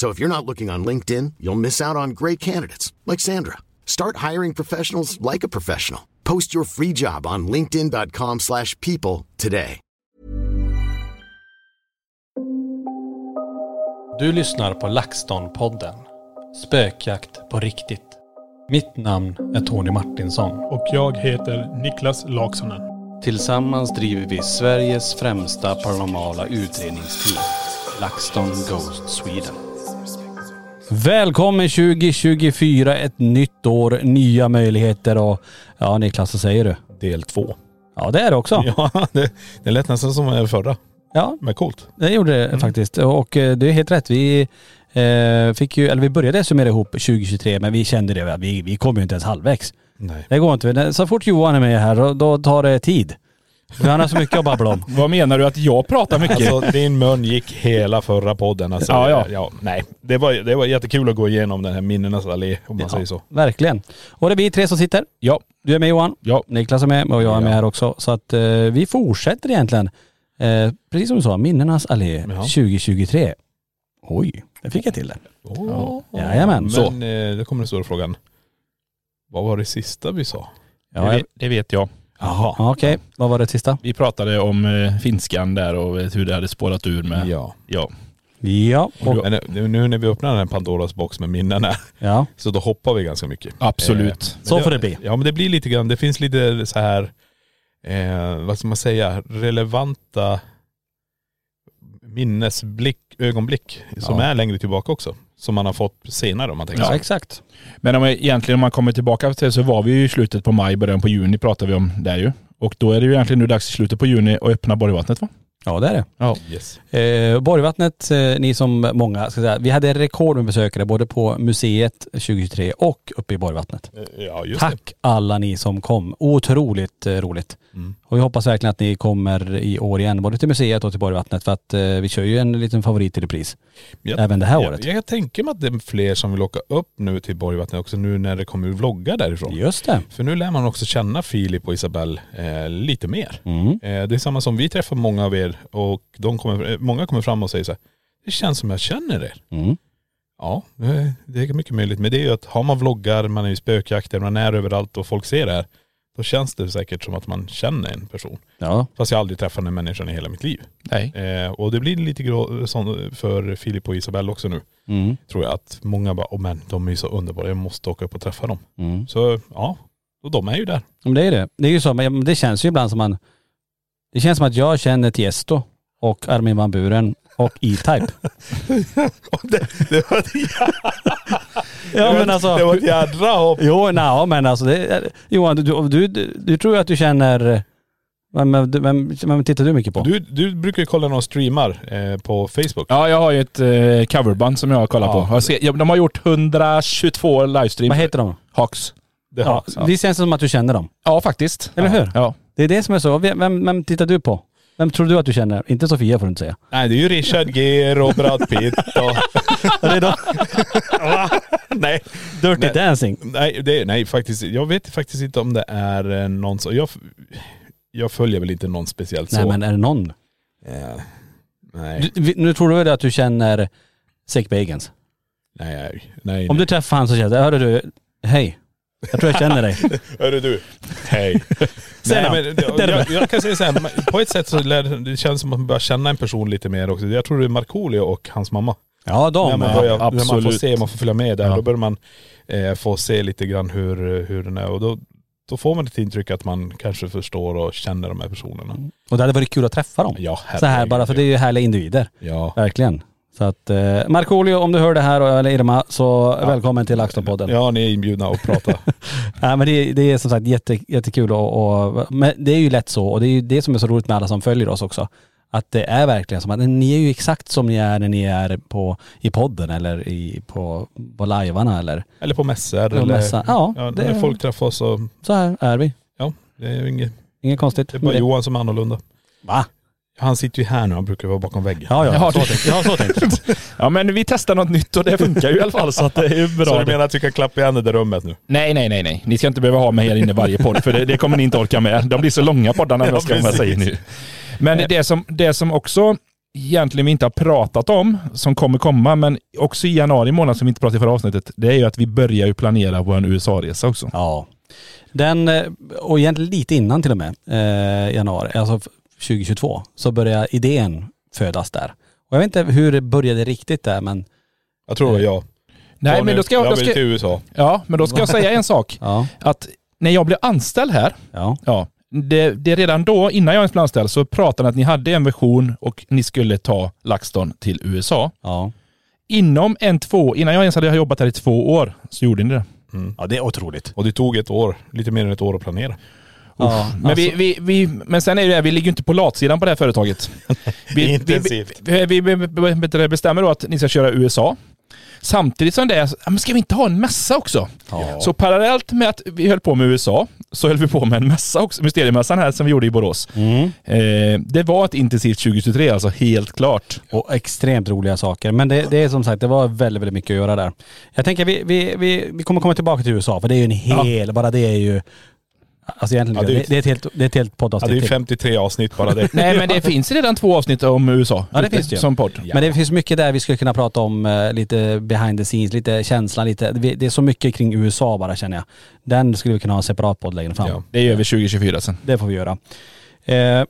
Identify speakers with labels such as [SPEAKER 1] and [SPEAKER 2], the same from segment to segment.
[SPEAKER 1] So if you're not looking on LinkedIn, you'll miss out on great candidates like Sandra. Start hiring professionals like a professional. Post your free job on linkedin.com/people slash people today.
[SPEAKER 2] Du lyssnar på LaxTon-podden. Spökjakt på riktigt. Mitt namn är Tony Martinsson.
[SPEAKER 3] Och jag heter Niklas Laksonen.
[SPEAKER 2] Tillsammans driver vi Sveriges främsta paranormala utredningsteam. LaxTon Ghost Sweden. Välkommen 2024, ett nytt år, nya möjligheter och ja Niklas, vad säger du?
[SPEAKER 4] del två.
[SPEAKER 2] Ja det är det också.
[SPEAKER 4] Ja, det, det lät nästan som den förra.
[SPEAKER 2] Ja,
[SPEAKER 4] Men coolt. Mm.
[SPEAKER 2] det gjorde det faktiskt. Och eh, det är helt rätt. Vi eh, fick ju, eller vi började summera ihop 2023 men vi kände det, att vi, vi kom ju inte ens halvvägs.
[SPEAKER 4] Nej.
[SPEAKER 2] Det går inte. eh, Så fort Johan är med här, då- då tar det tid. För han har så mycket att babbla om.
[SPEAKER 3] Vad menar du att jag pratar mycket?
[SPEAKER 4] Alltså din mun gick hela förra podden. Alltså,
[SPEAKER 3] Ja, ja.
[SPEAKER 4] nej. Det var, det var jättekul att gå igenom den här minnenas allé om man
[SPEAKER 2] Ja,
[SPEAKER 4] säger så.
[SPEAKER 2] Verkligen. Och det är vi tre som sitter.
[SPEAKER 4] Ja.
[SPEAKER 2] Du är med Johan.
[SPEAKER 4] Ja.
[SPEAKER 2] Niklas är med och jag är med
[SPEAKER 4] Ja.
[SPEAKER 2] här också. Så att eh, vi fortsätter egentligen. Eh, precis som du sa, minnenas allé
[SPEAKER 4] Ja.
[SPEAKER 2] 2023. Oj, det fick jag till det.
[SPEAKER 4] Oh.
[SPEAKER 2] Jajamän.
[SPEAKER 4] Men
[SPEAKER 2] Så.
[SPEAKER 4] eh, då kommer den stora frågan. Vad var det sista vi sa?
[SPEAKER 2] Ja, jag,
[SPEAKER 3] det vet jag.
[SPEAKER 4] Jaha.
[SPEAKER 2] ja, okej. Vad var det sista?
[SPEAKER 3] Vi pratade om eh, finskan där och eh, hur det hade spårat ur med...
[SPEAKER 4] Ja.
[SPEAKER 3] ja.
[SPEAKER 2] Ja. Och,
[SPEAKER 4] Men nu, nu när vi öppnar den här Pandoras box med minnen här,
[SPEAKER 2] ja.
[SPEAKER 4] så då hoppar vi ganska mycket.
[SPEAKER 3] Absolut.
[SPEAKER 4] Eh, men
[SPEAKER 2] Så får det bli.
[SPEAKER 4] Ja men det blir lite grann, det finns lite så här, eh, vad ska man säga, relevanta minnesblick, ögonblick som
[SPEAKER 2] Ja.
[SPEAKER 4] är längre tillbaka också. Som man har fått senare om man tänker
[SPEAKER 2] ja,
[SPEAKER 4] så.
[SPEAKER 2] exakt.
[SPEAKER 3] Men om, jag- egentligen om man kommer tillbaka till det så var vi ju i slutet på maj, början på juni pratade vi om där ju. Och då är det ju egentligen nu dags i slutet på juni att öppna Borgvattnet va?
[SPEAKER 2] Ja det är det.
[SPEAKER 3] Ja.
[SPEAKER 4] Yes.
[SPEAKER 2] Eh, Borgvattnet, eh, ni som många, ska säga, vi hade rekord med besökare både på museet 2023 och uppe i Borgvattnet.
[SPEAKER 4] Eh, Ja just det.
[SPEAKER 2] Tack alla ni som kom. Otroligt eh, roligt.
[SPEAKER 4] Mm.
[SPEAKER 2] Och vi hoppas verkligen att ni kommer i år igen, både till museet och till Borgvattnet för att eh, vi kör ju en liten favorit i repris.
[SPEAKER 4] Jag,
[SPEAKER 2] Även det här
[SPEAKER 4] jag,
[SPEAKER 2] året.
[SPEAKER 4] Jag, tänker mig att det är fler som vill åka upp nu till Borgvattnet också nu när det kommer vloggar därifrån.
[SPEAKER 2] Just det.
[SPEAKER 4] För nu lär man också känna Filip och Isabel eh, lite mer.
[SPEAKER 2] Mm.
[SPEAKER 4] Eh, det är samma som vi träffar många av er och de kommer, eh, många kommer fram och säger så här, det känns som jag känner er.
[SPEAKER 2] Mm.
[SPEAKER 4] Ja, eh, det är mycket möjligt. Men det är ju att har man vloggar, man är i spökjakter, man är överallt och folk ser det här. Då känns det säkert som att man känner en person.
[SPEAKER 2] Ja.
[SPEAKER 4] Fast jag har aldrig träffat den människan i hela mitt liv.
[SPEAKER 3] Nej.
[SPEAKER 4] Eh, och det blir lite grå, sån för Filip och Isabel också nu.
[SPEAKER 2] Mm.
[SPEAKER 4] Tror jag att många bara, åh men de är ju så underbara, jag måste åka upp och träffa dem.
[SPEAKER 2] Mm.
[SPEAKER 4] Så ja, och de är ju där.
[SPEAKER 2] Men det är det. Det är ju så, men det känns ju ibland som man.. Det känns som att jag känner Tiesto och Armin van Buren och E-Type.
[SPEAKER 4] det, var ett,
[SPEAKER 2] ja men alltså..
[SPEAKER 4] jädra hopp.
[SPEAKER 2] Jo, na, men alltså det, är- Johan, du, du, du, du tror ju att du känner.. Vem, vem, vem tittar du mycket på?
[SPEAKER 4] Du, du brukar ju kolla några streamar eh, på Facebook.
[SPEAKER 3] Ja, jag har ju ett eh, coverband som jag har kollat
[SPEAKER 4] Ja.
[SPEAKER 3] på. Jag ser, ja, de har gjort 122 livestreams.
[SPEAKER 2] Vad heter de?
[SPEAKER 3] Hawks.
[SPEAKER 4] Det har
[SPEAKER 2] Ja,
[SPEAKER 4] jag.
[SPEAKER 2] det känns som att du känner dem.
[SPEAKER 3] Ja, faktiskt.
[SPEAKER 2] Eller
[SPEAKER 3] ja.
[SPEAKER 2] hur?
[SPEAKER 3] Ja.
[SPEAKER 2] Det är det som är så. Vem, vem, vem tittar du på? Vem tror du att du känner? Inte Sofia får du inte säga.
[SPEAKER 4] Nej det är ju Richard Gere och Brad Pitt och...
[SPEAKER 2] Det är då,
[SPEAKER 4] nej.
[SPEAKER 2] Dirty
[SPEAKER 4] Nej.
[SPEAKER 2] Dancing.
[SPEAKER 4] Nej, det, nej faktiskt, jag vet faktiskt inte om det är eh, någon som... Jag, jag följer väl inte någon speciellt
[SPEAKER 2] Nej
[SPEAKER 4] så.
[SPEAKER 2] men är det någon?
[SPEAKER 4] Eh, nej,
[SPEAKER 2] Du, vi- nu tror du väl att du känner Zach Bagans?
[SPEAKER 4] nej, nej, nej.
[SPEAKER 2] Om du träffar han så känner du, hörru du, hej. Jag tror jag känner dig.
[SPEAKER 4] Hörru du, hej.
[SPEAKER 2] Säg
[SPEAKER 4] Nej,
[SPEAKER 2] då.
[SPEAKER 4] men,
[SPEAKER 2] Det är det
[SPEAKER 4] jag, jag kan säga så här, man- på ett sätt så lär, det känns som att man börjar känna en person lite mer också. Jag tror det är Markoolio och hans mamma.
[SPEAKER 2] Ja de.
[SPEAKER 4] när, man
[SPEAKER 2] ja.
[SPEAKER 4] börjar, när man får
[SPEAKER 3] absolut.
[SPEAKER 4] se, man får följa med där,
[SPEAKER 2] Ja.
[SPEAKER 4] då börjar man eh, få se lite grann hur, hur den är. Och då, då får man ett intryck att man kanske förstår och känner de här personerna.
[SPEAKER 2] Och det hade varit kul att träffa dem.
[SPEAKER 4] Ja,
[SPEAKER 2] Mm. så här bara, för det är ju härliga individer.
[SPEAKER 4] Ja.
[SPEAKER 2] Verkligen. Så att eh, Markoolio, om du hör det här, och- eller Irma, så välkommen till LaxTon-podden.
[SPEAKER 4] Ja, ni är inbjudna att prata.
[SPEAKER 2] Ja, men det, det är som sagt jätte, jättekul och, och men det är ju lätt så och det är ju det som är så roligt med alla som följer oss också. Att det är verkligen som att ni är ju exakt som ni är när ni är på, i podden eller i, på, på lajvarna eller
[SPEAKER 4] eller på mässor.
[SPEAKER 2] på
[SPEAKER 4] eller,
[SPEAKER 2] mässan. Ja,
[SPEAKER 4] Ja,
[SPEAKER 2] det,
[SPEAKER 4] när
[SPEAKER 2] är-
[SPEAKER 4] folk träffar oss så,
[SPEAKER 2] så här är vi.
[SPEAKER 4] ja, det är ju inget,
[SPEAKER 2] Inget konstigt.
[SPEAKER 4] det är bara
[SPEAKER 2] med det.
[SPEAKER 4] Johan som är annorlunda.
[SPEAKER 2] Va?
[SPEAKER 4] Han sitter ju här nu, han brukar vara bakom väggen.
[SPEAKER 2] Ja, ja.
[SPEAKER 3] Jaha,
[SPEAKER 2] så
[SPEAKER 3] du-
[SPEAKER 2] tänkt. Jag har så tänkt.
[SPEAKER 3] Ja men vi testar något nytt och det funkar ju i alla fall så att det är ju bra.
[SPEAKER 4] Så du menar att vi kan klappa igen det där rummet nu?
[SPEAKER 3] Nej, nej, nej, nej. Ni ska inte behöva ha mig här inne i varje podd, för det, det kommer ni inte orka med. De blir så långa poddarna,
[SPEAKER 4] Ja,
[SPEAKER 3] ja, Eh. ska jag
[SPEAKER 4] precis.
[SPEAKER 3] säger nu. Men det som, det som också egentligen vi inte har pratat om, som kommer komma, men också i januari månad som vi inte pratade i förra avsnittet, det är ju att vi börjar ju planera vår USA-resa också.
[SPEAKER 2] Ja. Den, eh, och egentligen lite innan till och med, eh, januari, alltså f- 2022, så börjar idén födas där. Och jag vet inte hur det började riktigt där men
[SPEAKER 4] Jag tror det var jag.
[SPEAKER 3] Nej, men då ska jag,
[SPEAKER 4] jag
[SPEAKER 3] då
[SPEAKER 4] vill till
[SPEAKER 3] ska,
[SPEAKER 4] USA.
[SPEAKER 3] ja, men då ska jag säga en sak.
[SPEAKER 2] ja.
[SPEAKER 3] Att när jag blev anställd här,
[SPEAKER 2] ja.
[SPEAKER 3] Ja. Det, det är redan då, innan jag ens blev anställd, så pratade ni att ni hade en version och ni skulle ta LaxTon till USA.
[SPEAKER 2] Ja.
[SPEAKER 3] Inom en två, innan jag ens hade jobbat här i två år, så gjorde ni det.
[SPEAKER 2] ja, det är otroligt.
[SPEAKER 4] Och det tog ett år, lite mer än ett år att planera.
[SPEAKER 2] Ja,
[SPEAKER 3] Men, vi, vi, vi, men sen är det ju det, vi ligger ju inte på latsidan på det här företaget. Vi, vi,
[SPEAKER 4] Intensivt.
[SPEAKER 3] vi, vi, vi, vi bestämmer då att ni ska köra USA. Samtidigt som det är, så- ja, men ska vi inte ha en mässa också? Så parallellt med att vi höll på med USA, så höll vi på med en mässa också, Mysteriemässan här som vi gjorde i Borås. Eh, det var ett intensivt 2023 alltså, helt klart.
[SPEAKER 2] Och extremt roliga saker. Men det, det är som sagt, det var väldigt, väldigt mycket att göra där. Jag tänker vi, vi, vi, vi kommer komma tillbaka till USA för det är ju en hel, bara det är ju, alltså egentligen,
[SPEAKER 4] Ja, det
[SPEAKER 2] det,
[SPEAKER 4] är ju-
[SPEAKER 2] det, är ett helt, det är ett helt
[SPEAKER 4] Ja, det är
[SPEAKER 2] poddavsnitt
[SPEAKER 4] ju
[SPEAKER 2] till.
[SPEAKER 4] 53 avsnitt bara det.
[SPEAKER 3] Nej men det finns redan två avsnitt om USA.
[SPEAKER 2] Ja, det finns det ju.
[SPEAKER 3] Som podd.
[SPEAKER 2] Men det finns mycket där vi skulle kunna prata om, eh, lite behind the scenes, lite känslan, lite, vi- det är så mycket kring USA bara känner jag. Den skulle vi kunna ha en separat podd längre fram.
[SPEAKER 4] Ja.
[SPEAKER 3] Det är över 2024 sen.
[SPEAKER 2] Det får vi göra. Eh,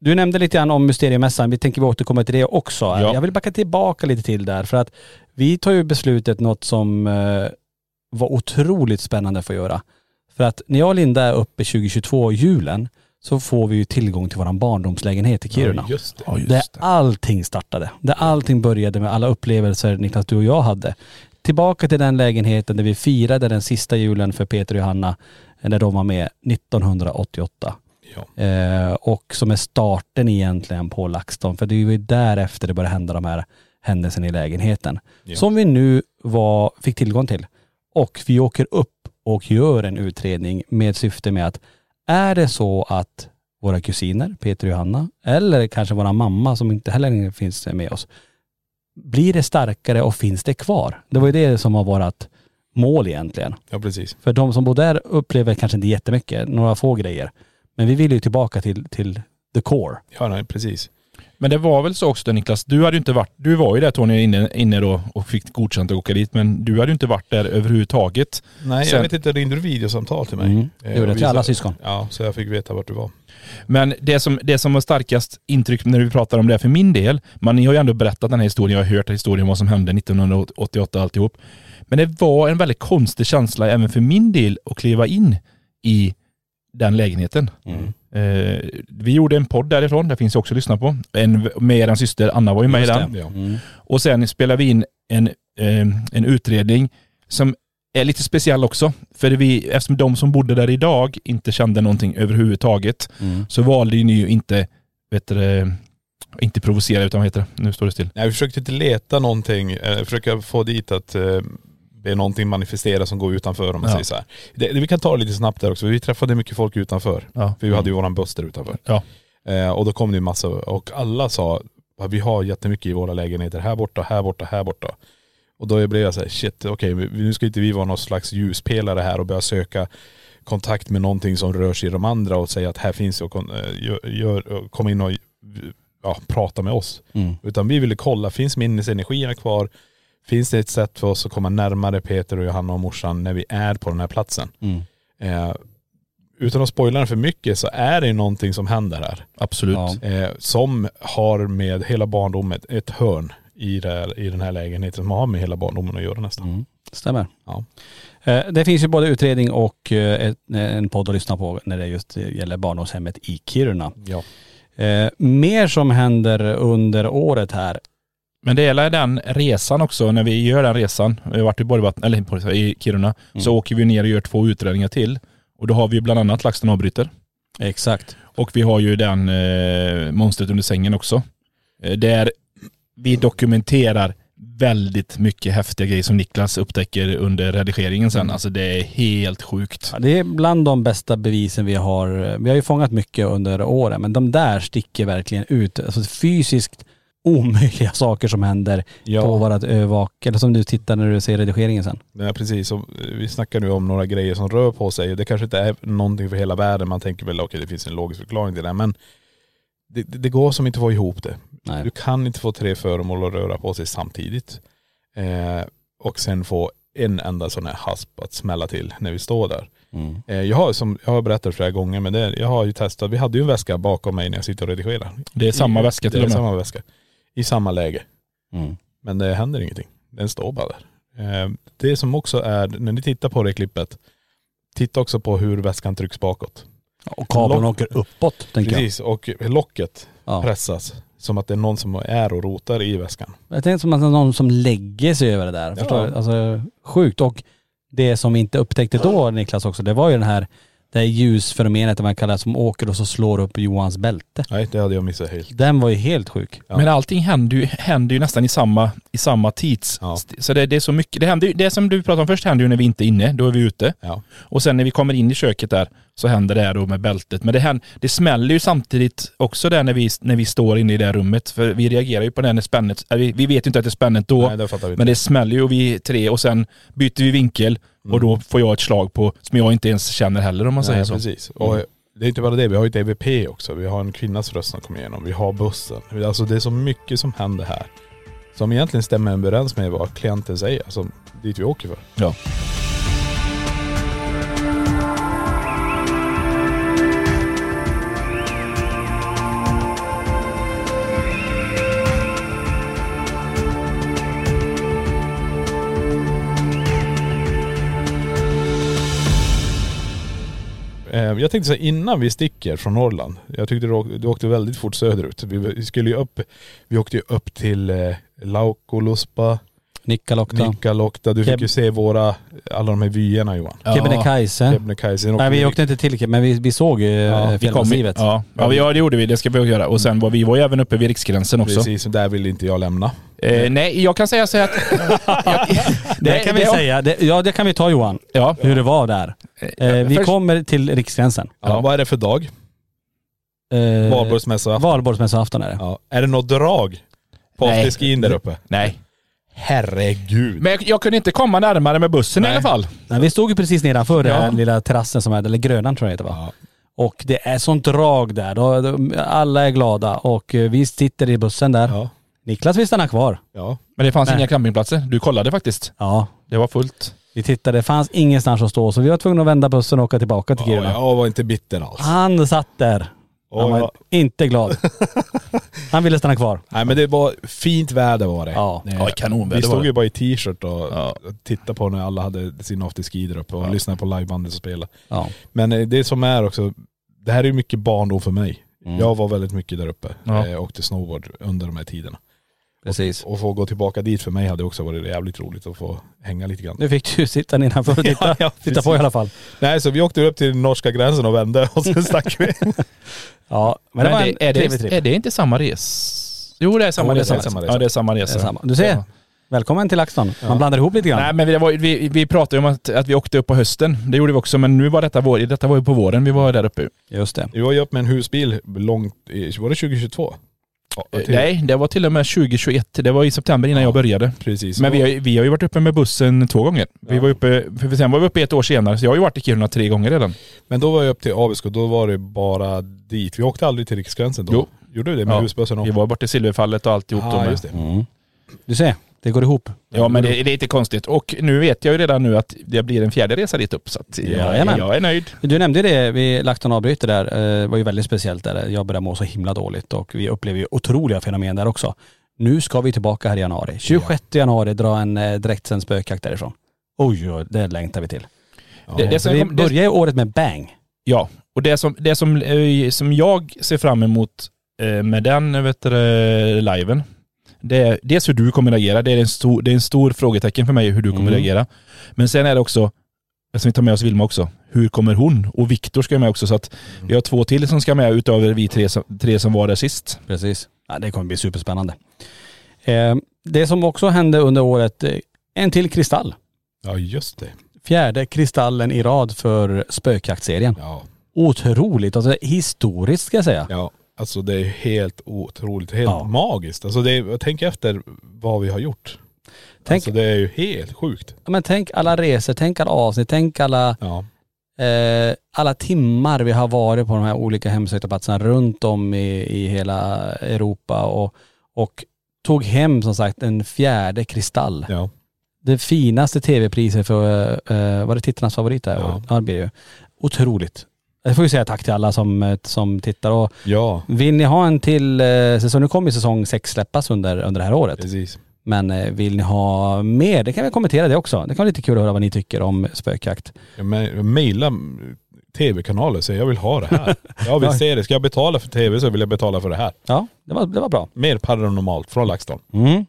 [SPEAKER 2] du nämnde lite grann om Mysteriemässan. Vi tänker vi återkommer till det också.
[SPEAKER 3] Ja.
[SPEAKER 2] Jag vill backa tillbaka lite till där för att vi tar ju beslutet något som eh, var otroligt spännande för att göra. För att när jag och Linda är uppe 2022, julen, så får vi ju tillgång till våran barndomslägenhet i Kiruna.
[SPEAKER 4] Ja, just det.
[SPEAKER 2] där allting startade. Där allting började med alla upplevelser Niklas, du och jag hade. Tillbaka till den lägenheten där vi firade den sista julen för Peter och Johanna när de var med 1988.
[SPEAKER 4] Ja.
[SPEAKER 2] Eh, och som är starten egentligen på LaxTon. För det var ju därefter det började hända de här händelserna i lägenheten.
[SPEAKER 4] Ja.
[SPEAKER 2] Som vi nu var, fick tillgång till. Och vi åker upp och gör en utredning med syfte med att är det så att våra kusiner, Peter och Johanna, eller kanske våra mamma som inte heller längre finns med oss, blir det starkare och finns det kvar? Det var ju det som var vårt mål egentligen.
[SPEAKER 4] Ja, precis.
[SPEAKER 2] För de som bor där upplever kanske inte jättemycket, några få grejer. Men vi vill ju tillbaka till, till the core.
[SPEAKER 4] Ja, nej, precis.
[SPEAKER 3] Men det var väl så också Niklas, du hade ju inte varit, du var ju där Tony inne, inne då och fick godkänt att åka dit, men du hade ju inte varit där överhuvudtaget.
[SPEAKER 4] Nej,
[SPEAKER 3] Sen-
[SPEAKER 4] jag vet inte, ringde du videosamtal till mig?
[SPEAKER 2] Mm. Det
[SPEAKER 4] Eh,
[SPEAKER 2] gjorde
[SPEAKER 4] och
[SPEAKER 2] jag till
[SPEAKER 4] visade-
[SPEAKER 2] alla syskon.
[SPEAKER 4] Ja, så jag fick veta vart du var.
[SPEAKER 3] Men det som, det som var starkast intryck när vi pratar om det här för min del, men ni har ju ändå berättat den här historien, jag har hört historien om vad som hände 1988 alltihop. Men det var en väldigt konstig känsla även för min del att kliva in i den lägenheten. Eh, vi gjorde en podd därifrån, det finns ju också att lyssna på. En, med er syster, Anna var ju med i den.
[SPEAKER 4] Ja.
[SPEAKER 3] Och sen spelar vi in en, eh, en utredning som är lite speciell också. För vi, eftersom de som bodde där idag inte kände någonting överhuvudtaget
[SPEAKER 4] Mm.
[SPEAKER 3] så valde ju ni ju inte, vet du, det, inte provocera utan vad heter det? Nu står det still.
[SPEAKER 4] Nej, vi försökte inte leta någonting, eh, försöka få dit att eh, det är någonting manifestera som går utanför om man
[SPEAKER 3] Ja.
[SPEAKER 4] säger så här. Det, det, vi kan ta det lite snabbt där också, vi träffade mycket folk utanför.
[SPEAKER 3] Ja.
[SPEAKER 4] För vi hade ju våran buss där utanför.
[SPEAKER 3] Mm. Ja.
[SPEAKER 4] Eh, och då kom det ju massa, och alla sa, "Ja, vi har jättemycket i våra lägenheter här borta, här borta, här borta. Och då blev jag så här, shit, okej, nu ska inte vi vara någon slags ljuspelare här och börja söka kontakt med någonting som rör sig i de andra och säga att här finns det och kon- eh, gör, gör, kom in och ja, prata med oss.
[SPEAKER 2] Mm.
[SPEAKER 4] Utan vi ville kolla, finns minnesenergierna kvar? Finns det ett sätt för oss att komma närmare Peter och Johanna och morsan när vi är på den här platsen?
[SPEAKER 2] Mm.
[SPEAKER 4] Eh, utan att spoila den för mycket så är det ju någonting som händer här.
[SPEAKER 3] Absolut.
[SPEAKER 2] Ja.
[SPEAKER 4] Eh, som har med hela barndomen, ett hörn i, det här, i den här lägenheten som har med hela barndomen att göra nästan.
[SPEAKER 2] Mm. Stämmer.
[SPEAKER 4] Ja.
[SPEAKER 2] Eh, Det finns ju både utredning och eh, ett- en podd att lyssna på när det just gäller barndomshemmet i Kiruna.
[SPEAKER 4] Ja.
[SPEAKER 2] Eh, Mer som händer under året här.
[SPEAKER 3] Men det gäller den resan också, när vi gör den resan, vi har varit i Borgvatten, eller på- i Kiruna, så åker vi ner och gör två utredningar till. Och då har vi ju bland annat LaxTon avbryter.
[SPEAKER 2] Exakt.
[SPEAKER 3] Och vi har ju den eh, monstret under sängen också. Eh, där vi dokumenterar väldigt mycket häftiga grejer som Niklas upptäcker under redigeringen sen. Alltså det är helt sjukt.
[SPEAKER 2] Ja, Det är bland de bästa bevisen vi har. Vi har ju fångat mycket under åren men de där sticker verkligen ut. Alltså fysiskt omöjliga saker som händer
[SPEAKER 4] Ja.
[SPEAKER 2] på vårat övervak, eller som du tittar när du ser redigeringen sen.
[SPEAKER 4] Ja precis, och eh, vi snackar nu om några grejer som rör på sig. Det kanske inte är någonting för hela världen. Man tänker väl okej det finns en logisk förklaring till det. Men det, det, det går som inte att få ihop det.
[SPEAKER 2] Nej.
[SPEAKER 4] Du kan inte få tre föremål att röra på sig samtidigt. Eh, och sen få en enda sån här hasp att smälla till när vi står där.
[SPEAKER 2] Mm.
[SPEAKER 4] Eh, jag, har, som, jag har berättat flera gånger men det, jag har ju testat. Vi hade ju en väska bakom mig när jag sitter och redigerar.
[SPEAKER 3] Det är samma
[SPEAKER 4] I-
[SPEAKER 3] väska till
[SPEAKER 4] det
[SPEAKER 3] och
[SPEAKER 4] är
[SPEAKER 3] med.
[SPEAKER 4] samma väska. I samma läge.
[SPEAKER 2] Mm.
[SPEAKER 4] Men det händer ingenting. Den står bara där. Eh, Det som också är, när ni tittar på det klippet, titta också på hur väskan trycks bakåt.
[SPEAKER 2] Och kabeln
[SPEAKER 4] Lock-
[SPEAKER 2] åker uppåt tänker jag.
[SPEAKER 4] Precis, och locket
[SPEAKER 2] Ja.
[SPEAKER 4] pressas. Som att det är någon som är och rotar i väskan.
[SPEAKER 2] Jag tänkte som att det är någon som lägger sig över det där. Förstår du? Alltså sjukt. Och det som vi inte upptäckte då Niklas också, det var ju den här, det här ljusfenomenet det man kallar som åker och så slår upp Johans bälte.
[SPEAKER 4] Nej, det hade jag missat helt.
[SPEAKER 2] Den var ju helt sjuk.
[SPEAKER 4] Ja.
[SPEAKER 3] Men allting händer ju, händer ju nästan i samma, i samma tids...
[SPEAKER 4] Ja.
[SPEAKER 3] Så det, det är så mycket. Det, händer, ju- det som du pratade om först händer ju när vi inte är inne, då är vi ute.
[SPEAKER 4] Ja.
[SPEAKER 3] Och sen när vi kommer in i köket där så händer det här då med bältet. Men det, händer, det smäller ju samtidigt också där när vi, när vi står inne i det här rummet. För vi reagerar ju på det här när spännet, äh, vi, vi vet ju inte att det är spännet då.
[SPEAKER 4] Nej, det fattar vi inte.
[SPEAKER 3] men det smäller ju och vi tre och sen byter vi vinkel och då får jag ett slag på, som jag inte ens känner heller om man säger
[SPEAKER 4] Mm. Nej,
[SPEAKER 3] så. Mm.
[SPEAKER 4] precis. Och det är inte bara det, vi har ju ett EVP också. Vi har en kvinnas röst som kommer igenom. Vi har bussen. Alltså det är så mycket som händer här. Som egentligen stämmer överens med vad klienten säger. Alltså dit vi åker för.
[SPEAKER 3] Ja.
[SPEAKER 4] Eh, Jag tänkte säga innan vi sticker från Norrland. Jag tyckte du åkte, du åkte väldigt fort söderut. Vi, vi skulle ju upp, vi åkte ju upp till eh, Laukoluspa,
[SPEAKER 2] Nikkaluokta,
[SPEAKER 4] Nikkaluokta. Du
[SPEAKER 2] Keb-
[SPEAKER 4] fick ju se våra, alla de här vyerna Johan.
[SPEAKER 3] Ja.
[SPEAKER 2] Kebnekaise.
[SPEAKER 4] Kebnekaise.
[SPEAKER 2] Äh? Nej vi åkte inte till Kebne, men vi, vi såg eh, ju
[SPEAKER 3] Ja,
[SPEAKER 2] ja,
[SPEAKER 3] vi kom, i-
[SPEAKER 2] fjällmassivet.
[SPEAKER 3] ja, ja, vi- Eh, ja, det gjorde vi. Det ska vi göra. Och sen var vi var ju även uppe vid Riksgränsen också.
[SPEAKER 4] Precis, och där ville inte jag lämna.
[SPEAKER 3] Eh, nej, jag kan säga så här att... jag,
[SPEAKER 2] Det, kan vi säga. Det, ja det kan vi ta Johan,
[SPEAKER 3] Ja.
[SPEAKER 2] hur det var där. Eh, vi
[SPEAKER 3] först-
[SPEAKER 2] kommer till Riksgränsen.
[SPEAKER 4] Ja. Vad är det för dag?
[SPEAKER 2] Eh,
[SPEAKER 4] Valborgsmässa.
[SPEAKER 2] Valborgsmässoafton är det.
[SPEAKER 4] Ja. Är det något drag på
[SPEAKER 3] Nej.
[SPEAKER 4] afterskin där uppe?
[SPEAKER 3] Nej.
[SPEAKER 4] Herregud.
[SPEAKER 3] Men jag, jag kunde inte komma närmare med bussen i alla fall.
[SPEAKER 2] Nej, vi stod ju precis nedanför den här
[SPEAKER 3] Ja.
[SPEAKER 2] lilla terrassen som är, eller grönan tror jag det heter va? Och det är sånt drag där. Då- då- Alla är glada och eh, vi sitter i bussen där.
[SPEAKER 4] Ja.
[SPEAKER 2] Niklas vill stanna kvar.
[SPEAKER 4] Ja.
[SPEAKER 3] Men det fanns
[SPEAKER 2] Nej.
[SPEAKER 3] inga campingplatser. Du kollade faktiskt.
[SPEAKER 2] Ja.
[SPEAKER 3] Det var fullt.
[SPEAKER 2] Vi tittade, det fanns ingenstans att stå så vi var tvungna att vända bussen och åka tillbaka till
[SPEAKER 4] Ja,
[SPEAKER 2] Kiruna.
[SPEAKER 4] jag var inte bitter alls.
[SPEAKER 2] Han satt där. Han
[SPEAKER 4] Ja,
[SPEAKER 2] var
[SPEAKER 4] ja.
[SPEAKER 2] inte glad. Han ville stanna kvar.
[SPEAKER 4] Nej men det var fint väder var det.
[SPEAKER 2] Ja.
[SPEAKER 4] det
[SPEAKER 3] Ja, kanonväder
[SPEAKER 4] Vi
[SPEAKER 3] var
[SPEAKER 4] stod
[SPEAKER 3] det.
[SPEAKER 4] ju bara i t-shirt och och tittade på när alla hade sin afterski där uppe och lyssnade på livebandet som spelade.
[SPEAKER 2] Ja.
[SPEAKER 4] Men eh, det som är också, det här är ju mycket barndom för mig. Jag var väldigt mycket där uppe
[SPEAKER 3] Mm. Ja.
[SPEAKER 4] eh, och åkte snowboard under de här tiderna.
[SPEAKER 2] Precis.
[SPEAKER 4] Och få gå tillbaka dit för mig hade också varit jävligt roligt att få hänga lite grann.
[SPEAKER 2] Nu fick du sitta nedanför och titta,
[SPEAKER 4] Ja, ja,
[SPEAKER 2] titta på i
[SPEAKER 4] precis.
[SPEAKER 2] alla fall.
[SPEAKER 4] Nej så vi åkte upp till norska gränsen och vände och sen stack vi.
[SPEAKER 2] Ja, men, det var en
[SPEAKER 3] är,
[SPEAKER 2] trevlig
[SPEAKER 3] det,
[SPEAKER 2] trip.
[SPEAKER 3] är det inte samma res? Jo det är samma
[SPEAKER 4] Jo, det är
[SPEAKER 3] resa.
[SPEAKER 4] samma resa.
[SPEAKER 3] Ja det är samma resa.
[SPEAKER 2] Det är samma. Du ser.
[SPEAKER 3] Ja.
[SPEAKER 2] Välkommen till LaxTon. Man blandar ihop lite grann.
[SPEAKER 3] Nej men vi, det var, vi, vi pratade ju om att, att vi åkte upp på hösten. Det gjorde vi också men nu var detta vår, detta var ju på våren vi var där uppe.
[SPEAKER 2] Just det.
[SPEAKER 4] Vi var ju upp med en husbil långt, i- var det 2022? Ja,
[SPEAKER 3] Eh,
[SPEAKER 4] till-
[SPEAKER 3] Nej, det var till och med 2021. Det var i september innan jag började.
[SPEAKER 4] Precis.
[SPEAKER 3] Men vi har, ju- vi har ju varit uppe med bussen två gånger. Vi var uppe, för sen var vi uppe ett år senare så jag har ju varit i Kiruna tre gånger redan.
[SPEAKER 4] Men då var jag upp till Abisko, då var det bara dit. Vi åkte aldrig till Riksgränsen då.
[SPEAKER 3] Jo.
[SPEAKER 4] Gjorde vi det med
[SPEAKER 3] Ja.
[SPEAKER 4] husbössorna?
[SPEAKER 3] Vi var borta i Silverfallet och alltihop då
[SPEAKER 4] ah,
[SPEAKER 3] med.
[SPEAKER 4] just det.
[SPEAKER 2] Du ser, det går ihop.
[SPEAKER 3] Ja men det, det är inte konstigt. Och nu vet jag ju redan nu att det blir en fjärde resa dit upp så att jag,
[SPEAKER 2] Jajamän.
[SPEAKER 3] jag är nöjd.
[SPEAKER 2] Du nämnde ju det, vi LaxTon avbryter där, eh, var ju väldigt speciellt där. Jag började må så himla dåligt och vi upplever ju otroliga fenomen där också. Nu ska vi tillbaka här i januari. 26 januari dra en eh, direktsänd spökjakt därifrån. Oj, oj, det längtar vi till.
[SPEAKER 3] Det, det
[SPEAKER 2] Så
[SPEAKER 3] som
[SPEAKER 2] vi
[SPEAKER 3] kom, det,
[SPEAKER 2] börjar ju året med bang.
[SPEAKER 3] ja, och det som, det som, eh, som jag ser fram emot eh, med den vet du, eh, liven, det är dels hur du kommer reagera. Det är en stor, det är en stor frågetecken för mig hur du kommer
[SPEAKER 2] Mm.
[SPEAKER 3] reagera. Men sen är det också, eftersom vi tar med oss Vilma också, hur kommer hon? Och Viktor ska ju med också så att vi har två till som ska med utöver vi tre som, tre som var där sist.
[SPEAKER 2] Precis. Ja, det kommer bli superspännande. Eh, det som också hände under året, eh, en till kristall.
[SPEAKER 4] Ja just det.
[SPEAKER 2] Fjärde kristallen i rad för spökjaktserien.
[SPEAKER 4] Ja.
[SPEAKER 2] Otroligt, alltså historiskt ska jag säga.
[SPEAKER 4] ja. Alltså det är helt otroligt, helt
[SPEAKER 2] Ja.
[SPEAKER 4] magiskt. Alltså det är, tänk efter vad vi har gjort.
[SPEAKER 2] Tänk-
[SPEAKER 4] Alltså det är ju helt sjukt.
[SPEAKER 2] Ja, Men tänk alla resor, tänk alla avsnitt, tänk alla,
[SPEAKER 4] Ja.
[SPEAKER 2] eh, alla timmar vi har varit på de här olika hemsökta runt om i, i hela Europa och, och tog hem som sagt en fjärde kristall.
[SPEAKER 4] Ja.
[SPEAKER 2] Det finaste tv-priset för, eh, var det tittarnas favorit där?
[SPEAKER 4] Ja.
[SPEAKER 2] Ja. ja det blir det ju. Otroligt. Jag får ju säga tack till alla som, eh, som tittar och
[SPEAKER 4] Ja.
[SPEAKER 2] vill ni ha en till eh, säsong, nu kommer ju säsong sex släppas under, under det här året.
[SPEAKER 4] Precis.
[SPEAKER 2] Men eh, vill ni ha mer, det kan vi kommentera det också. Det kan vara lite kul att höra vad ni tycker om spökjakt.
[SPEAKER 4] Ja, men Mejla tv-kanaler och säg jag vill ha det här. Jag vill se det. Ska jag betala för tv så vill jag betala för det här.
[SPEAKER 2] Ja, det var, det var bra.
[SPEAKER 4] Mer paranormalt från LaxTon.
[SPEAKER 2] Mm.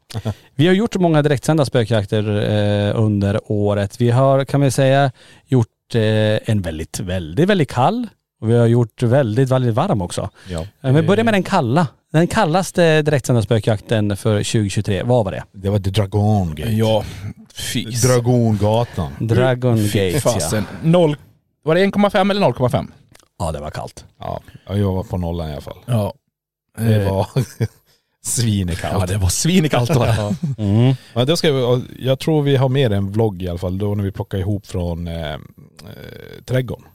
[SPEAKER 2] Vi har gjort många direktsända spökjakter eh, under året. Vi har, kan vi säga, gjort eh, en väldigt, väldigt, väldigt kall. Och vi har gjort väldigt, väldigt varm också.
[SPEAKER 4] Ja.
[SPEAKER 2] Eh, Vi börjar med den kalla. Den kallaste direktsända spökjakten för 2023, vad var det?
[SPEAKER 4] Det var The Dragon Gate.
[SPEAKER 3] Ja, fy
[SPEAKER 4] Dragongatan.
[SPEAKER 3] Mm.
[SPEAKER 2] Dragon Gate ja.
[SPEAKER 3] fasen. Noll, var det 1,5 eller 0,5?
[SPEAKER 2] Ja det var kallt.
[SPEAKER 4] Ja, jag var på nollan i alla fall.
[SPEAKER 3] Ja.
[SPEAKER 4] Det var svinekallt.
[SPEAKER 3] Eh. Ja det var svinekallt var det.
[SPEAKER 2] Mm.
[SPEAKER 4] Ja, det ska vi, jag tror vi har med en vlogg i alla fall, då när vi plockar ihop från eh, eh, trädgården.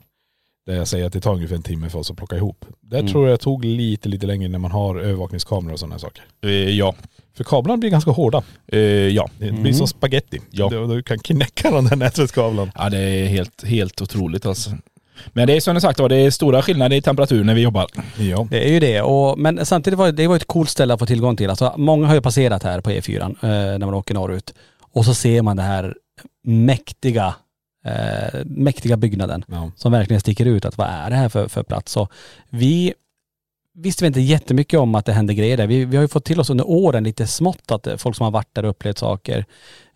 [SPEAKER 4] Där jag säger att det tar ungefär en timme för oss att plocka ihop. Där
[SPEAKER 2] Mm.
[SPEAKER 4] tror jag tog lite, lite längre när man har övervakningskameror och sådana saker.
[SPEAKER 3] Eh, ja.
[SPEAKER 4] För kablarna blir ganska hårda.
[SPEAKER 3] Eh, ja.
[SPEAKER 4] Det blir som spaghetti.
[SPEAKER 3] Ja.
[SPEAKER 4] Du, du kan knäcka den där nätverkskabeln.
[SPEAKER 3] Ja det är helt, helt otroligt alltså. Men det är som jag sagt var, det är stora skillnader i temperatur när vi jobbar.
[SPEAKER 4] Ja.
[SPEAKER 2] Det är ju det. Och, men samtidigt var det, det var ett coolt ställe att få tillgång till. Alltså, många har ju passerat här på E4 eh, när man åker norrut. Och så ser man den här mäktiga, eh, mäktiga byggnaden
[SPEAKER 4] ja.
[SPEAKER 2] som verkligen sticker ut. Att vad är det här för, för plats? Så vi visste vi inte jättemycket om att det hände grejer där. Vi, vi har ju fått till oss under åren lite smått att eh, folk som har varit där och upplevt saker.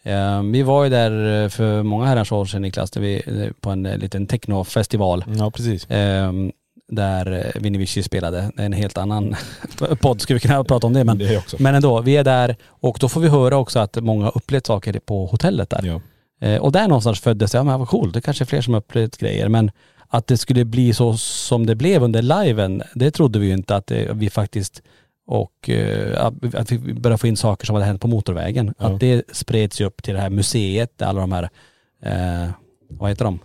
[SPEAKER 2] Eh, vi var ju där eh, för många herrans år sedan Niklas, där vi, eh, på en eh, liten technofestival
[SPEAKER 4] Ja precis.
[SPEAKER 2] Ehm, där eh, Vinnie Vici spelade. Det är en helt annan podd, skulle vi kunna prata om det. Men,
[SPEAKER 4] Det också.
[SPEAKER 2] men ändå, vi är där och då får vi höra också att många har upplevt saker på hotellet där.
[SPEAKER 4] Ja.
[SPEAKER 2] Eh, och där någonstans föddes det, ja men vad coolt, det kanske är fler som har upplevt grejer. Men att det skulle bli så som det blev under liven, det trodde vi ju inte att eh, vi faktiskt och eh, att- att vi började få in saker som hade hänt på motorvägen.
[SPEAKER 4] Ja.
[SPEAKER 2] Att det spreds ju upp till det här museet där alla de här, eh, vad heter de?